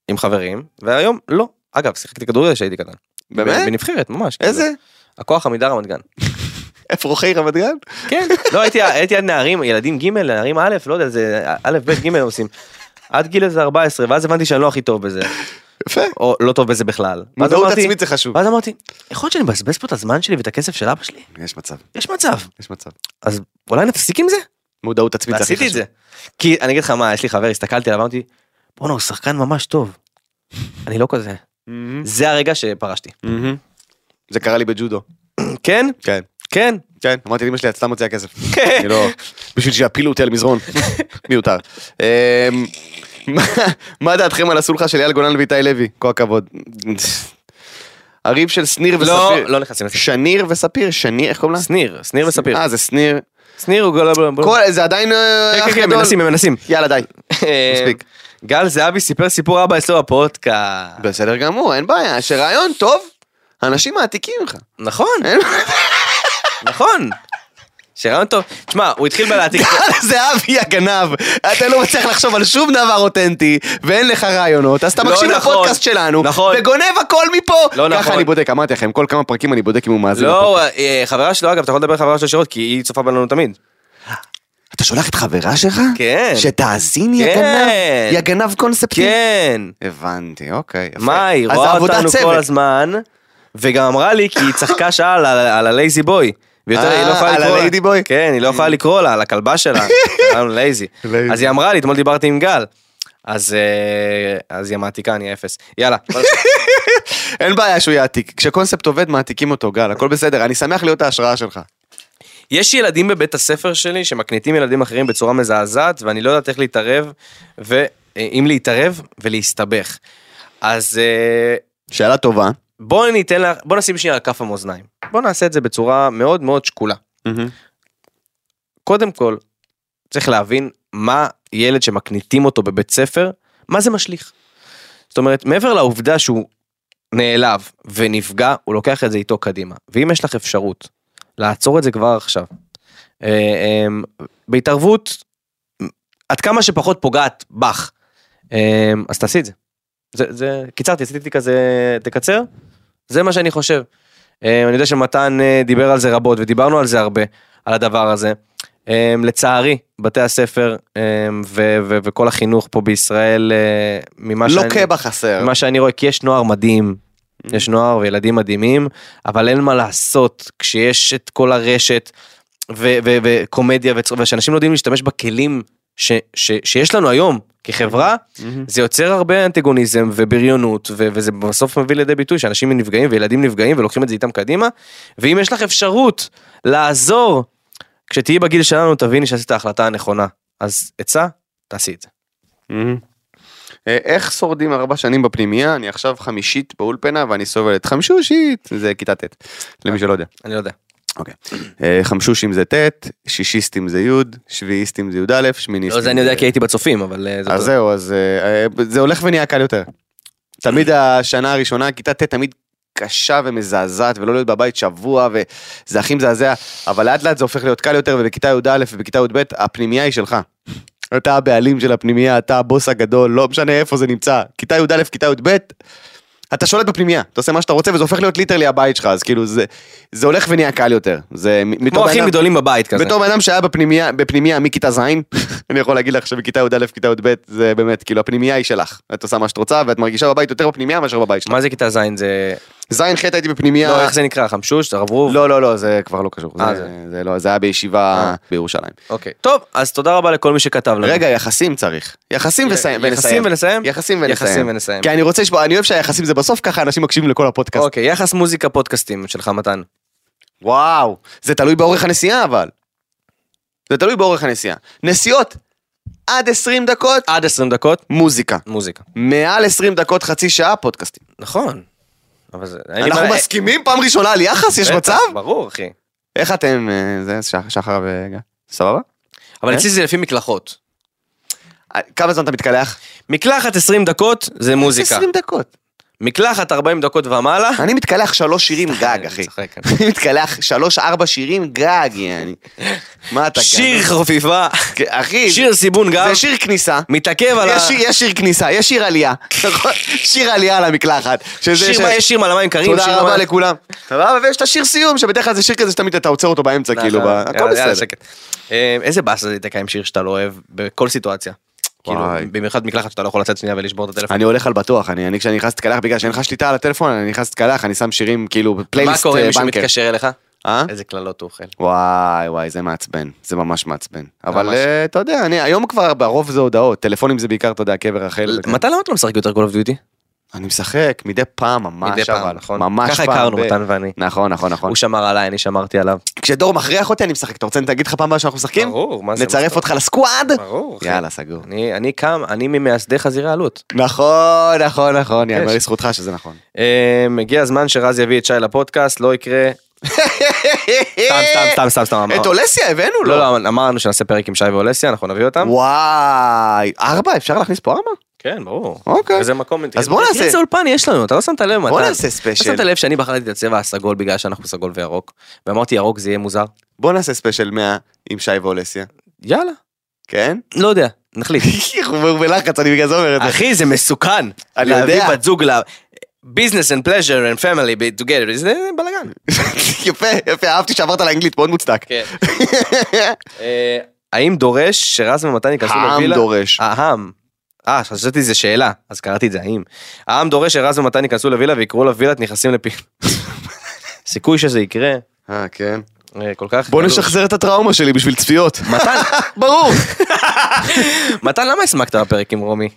C: עם חברים, והיום לא. אגב, שיחקתי כדורגל כשהייתי קטן.
B: באמת?
C: בנבחרת, ממש.
B: איזה?
C: כאילו. הכוח עמידה רמת גן.
B: אפרוחי רמת גן?
C: כן, לא הייתי, הייתי עד נערים, ילדים ג', נערים א', לא יודע, זה א', ב', ג' עושים. עד גיל איזה 14, ואז הבנתי שאני לא הכי טוב בזה,
B: יפה.
C: או לא טוב בזה בכלל. ואז
B: מודעות
C: אמרתי-
B: עצמית זה חשוב.
C: ואז אמרתי, יכול להיות שאני מבזבז פה את הזמן שלי ואת הכסף של אבא שלי?
B: יש מצב,
C: יש מצב.
B: יש מצב.
C: אז אולי נפסיק עם זה?
B: מודעות עצמית זה הכי חשוב.
C: ועשיתי את זה. כי אני אגיד לך מה, יש לי חבר, הסתכלתי עליו, אמרתי, בואנה, הוא שחקן ממש טוב. אני לא כזה.
B: מהמם,
C: זה הרגע שפרשתי.
B: מהמם. זה קרה לי בג'ודו.
C: כן?
B: כן.
C: כן.
B: כן, אמרתי לאמא שלי, את סתם מוציאה כסף. אני לא... בשביל שיפילו אותי על מזרון. מיותר. אמ, מה- מה דעתכם על הסולחה של אייל גולן ואיתי לוי? כל הכבוד. הריב של שניר
C: לא,
B: וספיר.
C: לא נכנסים לזה.
B: שניר וספיר, שניר, איך קוראים לה?
C: שניר, שניר וספיר.
B: אה, זה שניר.
C: שניר הוא גול...
B: כל, זה עדיין אה,
C: כן,
B: אח
C: כן, כן,
B: גדול.
C: מנסים, הם מנסים.
B: יאללה, די. מספיק.
C: אה, גל זהבי סיפר סיפור אבא אצלו בפודקאסט.
B: בסדר גמור, אין בעיה. שרעיון טוב, אנשים מעתיקים ממך.
C: נכון,
B: אין-
C: נכון. שרעיון טוב. תשמע, הוא התחיל בלהעתיק.
B: זה אבי הגנב, אתה לא מצליח לחשוב על שום דבר אותנטי ואין לך רעיונות, אז אתה
C: לא
B: מקשיב
C: נכון.
B: לפודקאסט שלנו,
C: נכון.
B: וגונב הכל מפה,
C: לא
B: ככה
C: נכון.
B: אני בודק, אמרתי לכם, כל כמה פרקים אני בודק אם הוא מאזין. לפודקאסט.
C: לא, אה, חברה שלו, אגב, אתה יכול לדבר עם חברה שלו ישירות, כי היא צופה בנו תמיד.
B: אתה שולח את חברה שלך?
C: כן.
B: שתאזין, יא
C: כן.
B: גנב? יא גנב קונספטי?
C: כן.
B: הבנתי, אוקיי. יפה.
C: מה, היא
B: אז
C: רואה
B: עבודת
C: אותנו
B: צוות.
C: כל הזמן, וגם אמרה לי כי היא צחקה שעה על ה- על הלייזי בוי. ויותר
B: אה,
C: היא לא יכולה
B: על
C: לקרוא לה.
B: ה-Lady Boy?
C: כן, היא לא יכולה לקרוא לה, על הכלבה שלה. קראנו לייזי.
B: Lazy.
C: אז היא אמרה לי, אתמול דיברתי עם גל. אז אה, אז היא המעתיקה, אני אפס. יאללה. בוא נעשה.
B: אין בעיה שהוא יעתיק, כשקונספט עובד מעתיקים אותו, גל, הכל בסדר, אני שמח להיות ההשראה שלך.
C: יש ילדים בבית הספר שלי שמקניטים ילדים אחרים בצורה מזעזעת, ואני לא יודעת איך להתערב, ואם להתערב ולהסתבך. אז אה,
B: שאלה טובה.
C: בואו ניתן לך, בואו נשים שנייה על כף המאזניים. בואו נעשה את זה בצורה מאוד מאוד שקולה. קודם כל, צריך להבין מה ילד שמקניטים אותו בבית ספר, מה זה משליך. זאת אומרת, מעבר לעובדה שהוא נעלב ונפגע, הוא לוקח את זה איתו קדימה. ואם יש לך אפשרות לעצור את זה כבר עכשיו, אה, אה, בהתערבות עד כמה שפחות פוגעת בך, אה, אז תעשי את זה. זה, זה קיצרתי, עשיתי כזה, תקצר, זה מה שאני חושב. אה, אני יודע שמתן אה, דיבר על זה רבות ודיברנו על זה הרבה, על הדבר הזה. אמ, לצערי, בתי הספר אמ, ו- ו- וכל החינוך פה בישראל, אה, ממה שאני...
B: לוקה בחסר.
C: ממה שאני רואה, כי יש נוער מדהים, יש נוער וילדים מדהימים, אבל אין מה לעשות כשיש את כל הרשת ו- ו- וקומדיה וצ- ושאנשים לא יודעים להשתמש בכלים ש- ש- שיש לנו היום כחברה,
B: מהמם.
C: זה יוצר הרבה אנטגוניזם ובריונות, ו- וזה בסוף מביא לידי ביטוי שאנשים נפגעים וילדים נפגעים ולוקחים את זה איתם קדימה, ואם יש לך אפשרות לעזור, כשתהיי בגיל שלנו תביני שעשית את ההחלטה הנכונה, אז עצה, תעשי את זה.
B: מהמם. אה, איך שורדים ארבע שנים בפנימייה? אני עכשיו חמישית באולפנה ואני סובל את חמשושית, זה כיתה ט', למי שלא יודע.
C: אני לא יודע.
B: אה, חמשושים זה ט', שישיסטים זה י', שביעיסטים זה י"א, שמיניסטים.
C: לא, זה אני יודע כי הייתי בצופים, אבל אה, זה
B: אז
C: אותו-
B: זהו, אז אה, אה, זה הולך ונהיה קל יותר. תמיד השנה הראשונה, כיתה ט' תמיד קשה ומזעזעת, ולא להיות בבית שבוע, וזה הכי מזעזע, אבל לאט לאט זה הופך להיות קל יותר, ובכיתה י"א ובכיתה י"ב, הפנימייה היא שלך. אתה הבעלים של הפנימייה, אתה הבוס הגדול, לא משנה איפה זה נמצא. כיתה י"א, כיתה י"ב, אתה שולט בפנימייה, אתה עושה מה שאתה רוצה, וזה הופך להיות ליטרלי הבית שלך, אז כאילו, זה, זה הולך ונהיה קל יותר. זה מ- מתור
C: כמו אחים
B: בן אדם-
C: גדולים בבית כזה.
B: בתור בן אדם שהיה בפנימיה, בפנימיה מכיתה ז', אני יכול להגיד לך שבכיתה י"א, כיתה י"ב, זה באמת, כאילו, הפנימייה היא שלך. את עושה מה שאת רוצה, ואת מרגישה בבית יותר בפנימייה מאשר בבית שלך.
C: מה זה כיתה ז' זה...
B: ז', ח', הייתי בפנימייה...
C: לא, איך זה נקרא? חמשוש? הרברוב?
B: לא, לא, לא, זה כבר לא קשור.
C: אה,
B: זה-
C: זה.
B: זה לא, זה היה בישיבה בירושלים.
C: אוקיי. טוב, אז תודה רבה לכל מי שכתב לנו.
B: רגע, יחסים צריך. יחסים ונסיים.
C: לא, יחסים ונסיים?
B: יחסים
C: יחסים
B: ונסיים.
C: ונסיים.
B: כי אני רוצה לשמוע, אני אוהב שהיחסים זה בסוף, ככה אנשים מקשיבים לכל הפודקאסט.
C: אוקיי, יחס מוזיקה פודקאסטים שלך מתן.
B: וואו, זה תלוי באורך הנסיעה אבל. זה תלוי באורך הנסיעה. נסיעות, עד 20 דקות,
C: עד 20 דקות,
B: מוזיקה.
C: מוזיקה.
B: מעל 20 דקות, חצי שעה, פודקאסטים.
C: נכון. אבל זה... אין לי מה- אה,
B: אנחנו מסכימים פעם ראשונה על יחס? יש
C: בטח,
B: מצב?
C: ברור, אחי.
B: איך אתם, אה, זה שח- שחר וגל? סבבה?
C: אבל
B: אה?
C: אצלי זה לפי מקלחות.
B: אה, כמה זמן אתה מתקלח?
C: מקלחת 20 דקות זה מוזיקה.
B: 20 דקות.
C: מקלחת 40 דקות ומעלה.
B: אני מתקלח שלוש שירים גג,
C: אני
B: אחי.
C: צוחק, אני-
B: אני מתקלח שלוש, ארבע שירים גג, יעני. מה אתה גג?
C: שיר חפיפה,
B: אחי,
C: שיר סיבון גב,
B: זה שיר כניסה.
C: מתעכב על ה...
B: יש שיר- יש שיר כניסה, יש שיר עלייה. נכון? שיר עלייה על המקלחת. שזה-
C: שיר
B: ש-
C: מה, יש שיר על המים קרים, שיר
B: תודה רבה
C: על-
B: לכולם. סבבה, ויש את השיר סיום, שבדרך כלל זה שיר כזה שתמיד אתה עוצר אותו באמצע, כאילו, ב-
C: נכון, יאללה,
B: הכל
C: יאללה,
B: בסדר.
C: שקט. אה, איזה באסה זה להיתקע עם שיר שאתה לא אוהב בכל סיטואציה. כאילו,
B: וואי.
C: במיוחד מקלחת שאתה לא יכול לצאת שנייה ולשבור את הטלפון.
B: אני הולך על בטוח, אני, אני כשאני נכנס להתקלח, בגלל שאין לך שליטה על הטלפון, אני נכנס להתקלח, אני שם שירים כאילו
C: מה
B: פלייליסט
C: קורה
B: אה,
C: אם מישהו
B: בנקר.
C: מתקשר אליך?
B: אה?
C: איזה קללות הוא אוכל.
B: וואי וואי זה מעצבן, זה ממש מעצבן. אבל
C: ממש.
B: אה, אתה יודע, אני היום כבר ברוב זה הודעות, טלפונים זה בעיקר, אתה יודע, קבר רחל. וכאלה.
C: מתי למה אתה לא משחק יותר כל דיוטי?
B: אני משחק מדי פעם, ממש,
C: מדי פעם,
B: אבל,
C: נכון?
B: ממש
C: ככה
B: פעם.
C: הכרנו
B: ב-
C: מתן ואני.
B: נכון, נכון, נכון.
C: הוא שמר עליי, אני שמרתי עליו.
B: כשדור מכריח אותי אני משחק, אתה רוצה אני אגיד לך פעם הבאה שאנחנו משחקים?
C: ברור, מה זה, מה
B: כן? נצרף
C: זאת
B: אותך לסקוואד?
C: ברור, אחי.
B: יאללה, סגור.
C: אני אני קם, אני ממייסדי חזירי עלות.
B: נכון, נכון, נכון, יאללה,
C: יש.
B: לזכותך שזה נכון.
C: אה, הגיע הזמן שרז יביא את שי לפודקאסט, לא יקרה. סתם, סתם, סתם, סתם, סתם. אמר-
B: אה! את אולסיה הבאנו לו.
C: לא, לא, אמר- אמרנו שנעשה פרק עם שי ואולסיה, אנחנו נביא אותם.
B: וואי, ארבע? אפשר להכניס פה ארבע?
C: כן, ברור.
B: אוקיי.
C: איזה מקום.
B: אז בוא נעשה-
C: איזה אולפן יש לנו, אתה לא שמת לב.
B: בוא
C: מתן.
B: נעשה
C: אתה שמת
B: ספיישל.
C: לב שאני בחרתי את הצבע הסגול בגלל שאנחנו סגול וירוק, ואמרתי ירוק זה יהיה מוזר?
B: בוא נעשה ספיישל 100 עם שי ואולסיה.
C: יאללה.
B: כן?
C: לא יודע, נחליט.
B: הוא בלחץ, אני בגלל זה אומר את זה.
C: אחי, זה מסוכן.
B: אני
C: להביא
B: יודע.
C: בת זוג ל... business and pleasure and family be together, זה בלאגן.
B: יפה, יפה, אהבתי שעברת לאנגלית, מאוד מוצדק.
C: אה. כן. אה, האם דורש שרז ומתן ייכנסו
B: העם
C: לווילה? אה,
B: דורש.
C: העם. אה, חשבתי זה שאלה, אז קראתי את זה, האם. העם דורש שרז ומתן ייכנסו לווילה ויקראו לווילת נכנסים לפי... סיכוי שזה יקרה,
B: אה, כן.
C: אה, כל כך...
B: בוא
C: גדול.
B: נשחזר את הטראומה שלי בשביל צפיות.
C: מתן,
B: ברור.
C: מתן, למה הסמקת בפרק עם רומי?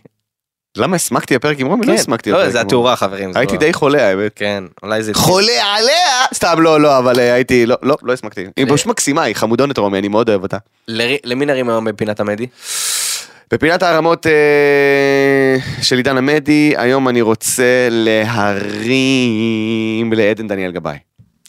B: למה הסמקתי בפרק עם רומי? לא
C: כן.
B: הסמקתי
C: לא,
B: בפרק
C: זה
B: עם רומי.
C: התאורה, חברים. זה
B: הייתי
C: לא-
B: די חולה, האמת.
C: כן, אולי זה...
B: חולה עליה! סתם, לא, לא, אבל אה, הייתי, לא, לא, לא הסמקתי. היא
C: אה.
B: פשוט מקסימה, היא חמודונת רומי, אני מאוד אוהב אותה.
C: ל- למי נרים היום בפינת המדי?
B: בפינת הערמות אה, של עידן עמדי, היום אני רוצה להרים לעדן דניאל גבאי.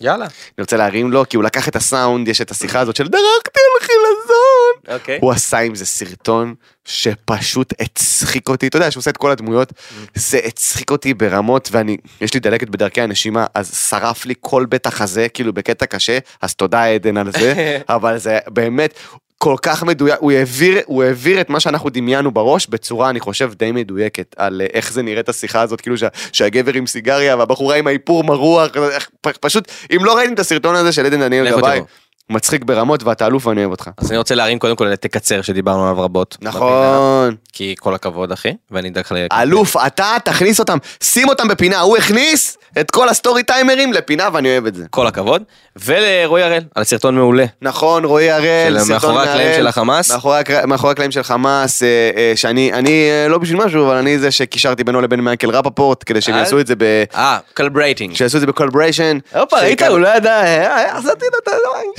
C: יאללה.
B: אני רוצה להרים לו, כי הוא לקח את הסאונד, יש את השיחה הזאת של דרכתי על חילזון.
C: אוקיי.
B: הוא עשה עם זה סרטון שפשוט הצחיק אותי. אתה יודע שהוא עושה את כל הדמויות, זה הצחיק אותי ברמות, ואני, יש לי דלקת בדרכי הנשימה, אז שרף לי כל בית החזה, כאילו בקטע קשה, אז תודה עדן על זה, אבל זה באמת... כל כך מדויק, הוא העביר, הוא העביר את מה שאנחנו דמיינו בראש בצורה, אני חושב, די מדויקת, על אה, איך זה נראית השיחה הזאת, כאילו שה, שהגבר עם סיגריה והבחורה עם האיפור מרוח, איך- פ- פשוט, אם לא ראיתם את הסרטון הזה של עדן דניאל
C: לכו
B: גבאי,
C: תראו.
B: מצחיק ברמות ואתה אלוף ואני אוהב אותך.
C: אז אני רוצה להרים קודם כל את תקצר שדיברנו עליו רבות. בפינה,
B: נכון,
C: כי כל הכבוד, אחי, ואני אדאג ל...
B: אלוף, אתה תכניס אותם, שים אותם בפינה, הוא הכניס את כל הסטורי טיימרים לפינה ואני אוהב את זה.
C: כל הכבוד. ולרועי הראל, על סרטון מעולה.
B: נכון, רועי הראל,
C: של
B: סרטון נכון.
C: מאחורי הקלעים
B: מהראל,
C: של החמאס.
B: מאחורי הקר- מאחורי הקלעים של חמאס, אה, אה, שאני, אני אה, לא בשביל משהו, אבל אני זה שקישרתי בינו לבין מייקל רפפורט, כדי שהם
C: אה?
B: יעשו את זה ב...
C: אה, קלברייטינג.
B: שיעשו את זה בקולבריישן.
C: לא ידע, אה, עשיתי לו את ה...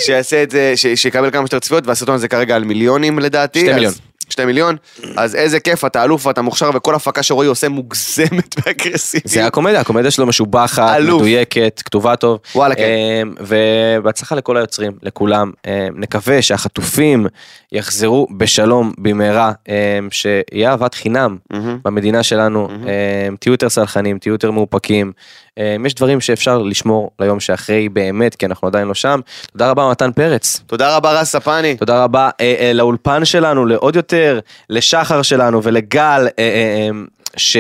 B: שיעשה את זה, ש- שיקבל כמה שיותר צפיות, והסרטון הזה כרגע על מיליונים לדעתי.
C: שתי
B: אז-
C: מיליון.
B: שתי מיליון. אז איזה כיף, אתה אלוף ואתה מוכשר, וכל הפקה שרועי עושה מוגזמת ואגרסיבית.
C: זה הקומדיה, הקומדיה שלו משובחת,
B: אלוף.
C: מדויקת, כתובה טוב.
B: וואלה, כן.
C: אמ, ובהצלחה לכל היוצרים, לכולם. אמ, נקווה שהחטופים יחזרו בשלום במהרה, אמ, שיהיה אהבת חינם
B: מהמם.
C: במדינה שלנו.
B: מהמם.
C: אמ, תהיו יותר סלחנים, תהיו יותר מאופקים. אמ, יש דברים שאפשר לשמור ליום שאחרי באמת, כי אנחנו עדיין לא שם. תודה רבה מתן פרץ.
B: תודה רבה רז ספני.
C: תודה רבה אה, אה, לאולפן שלנו, לעוד יותר, לשחר שלנו ולגל, אה, אה, אה, ש...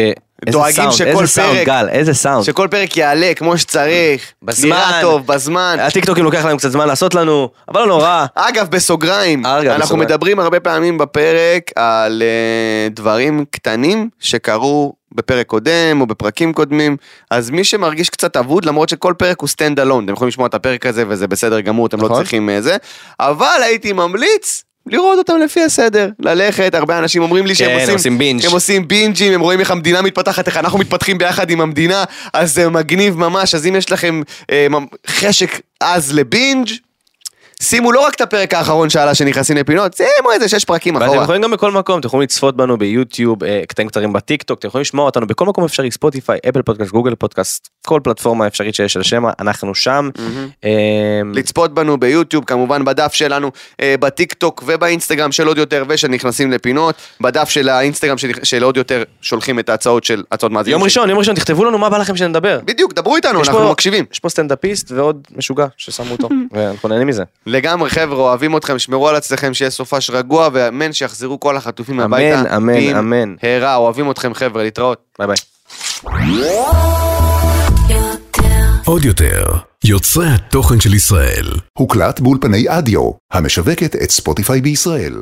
C: איזה
B: דואגים
C: סאונד,
B: שכל
C: איזה סאונד,
B: פרק-
C: גל, איזה סאונד.
B: שכל פרק יעלה כמו שצריך.
C: בזמן.
B: נראה טוב, בזמן.
C: הטיקטוקים לוקח להם קצת זמן לעשות לנו, אבל לא נורא.
B: אגב, בסוגריים,
C: אגב,
B: אנחנו
C: בסוגריים.
B: מדברים הרבה פעמים בפרק על אה, דברים קטנים שקרו בפרק קודם או בפרקים קודמים, אז מי שמרגיש קצת אבוד, למרות שכל פרק הוא stand alone, אתם יכולים לשמוע את הפרק הזה וזה בסדר גמור, אתם לא
C: נכון.
B: צריכים אה, זה, אבל הייתי ממליץ. לראות אותם לפי הסדר, ללכת, הרבה אנשים אומרים לי
C: כן,
B: שהם עושים,
C: עושים בינג'.
B: הם עושים בינג'ים, הם רואים איך המדינה מתפתחת, איך אנחנו מתפתחים ביחד עם המדינה, אז זה מגניב ממש, אז אם יש לכם אה, ממ- חשק עז לבינג', שימו לא רק את הפרק האחרון שעלה שנכנסים לפינות, שימו איזה שש פרקים
C: ואתם
B: אחורה.
C: יכולים גם בכל מקום, אתם יכולים לצפות בנו ביוטיוב, אה, קטעים קצרים בטיקטוק, אתם יכולים לשמוע אותנו בכל מקום אפשרי, ספוטיפיי, אפל פודקאסט, גוגל פודקאסט, כל פלטפורמה אפשרית שיש על שם, אנחנו שם.
B: מהמם.
C: אה,
B: לצפות בנו ביוטיוב, כמובן בדף שלנו, אה, בטיקטוק ובאינסטגרם של עוד יותר ושל נכנסים לפינות, בדף של האינסטגרם של, של עוד יותר שולחים את ההצעות של הצעות מאזינים.
C: יום ראשון, יום ראשון, תכתבו לנו מה בא לכם שנדבר.
B: בדיוק, דברו איתנו,
C: יש
B: אנחנו
C: פה-
B: מקשיבים.
C: יש פה סטנדאפיסט ועוד משוגע ששמו אותו, ואנחנו נהנים מזה.
B: לגמרי, חבר'ה, אוהבים אתכם, שמרו על עצמכם, שיהיה סופש רגוע, ואמן שיחזרו כל החטופים
C: אמן,
B: הביתה.
C: אמן, אמן.
B: הרע, אוהבים אתכם, חבר'ה, להתראות.
C: ביי ביי.
A: עוד יותר, יוצרי התוכן של ישראל.
D: הוקלט באולפני אדיו, המשווקת את ספוטיפיי בישראל.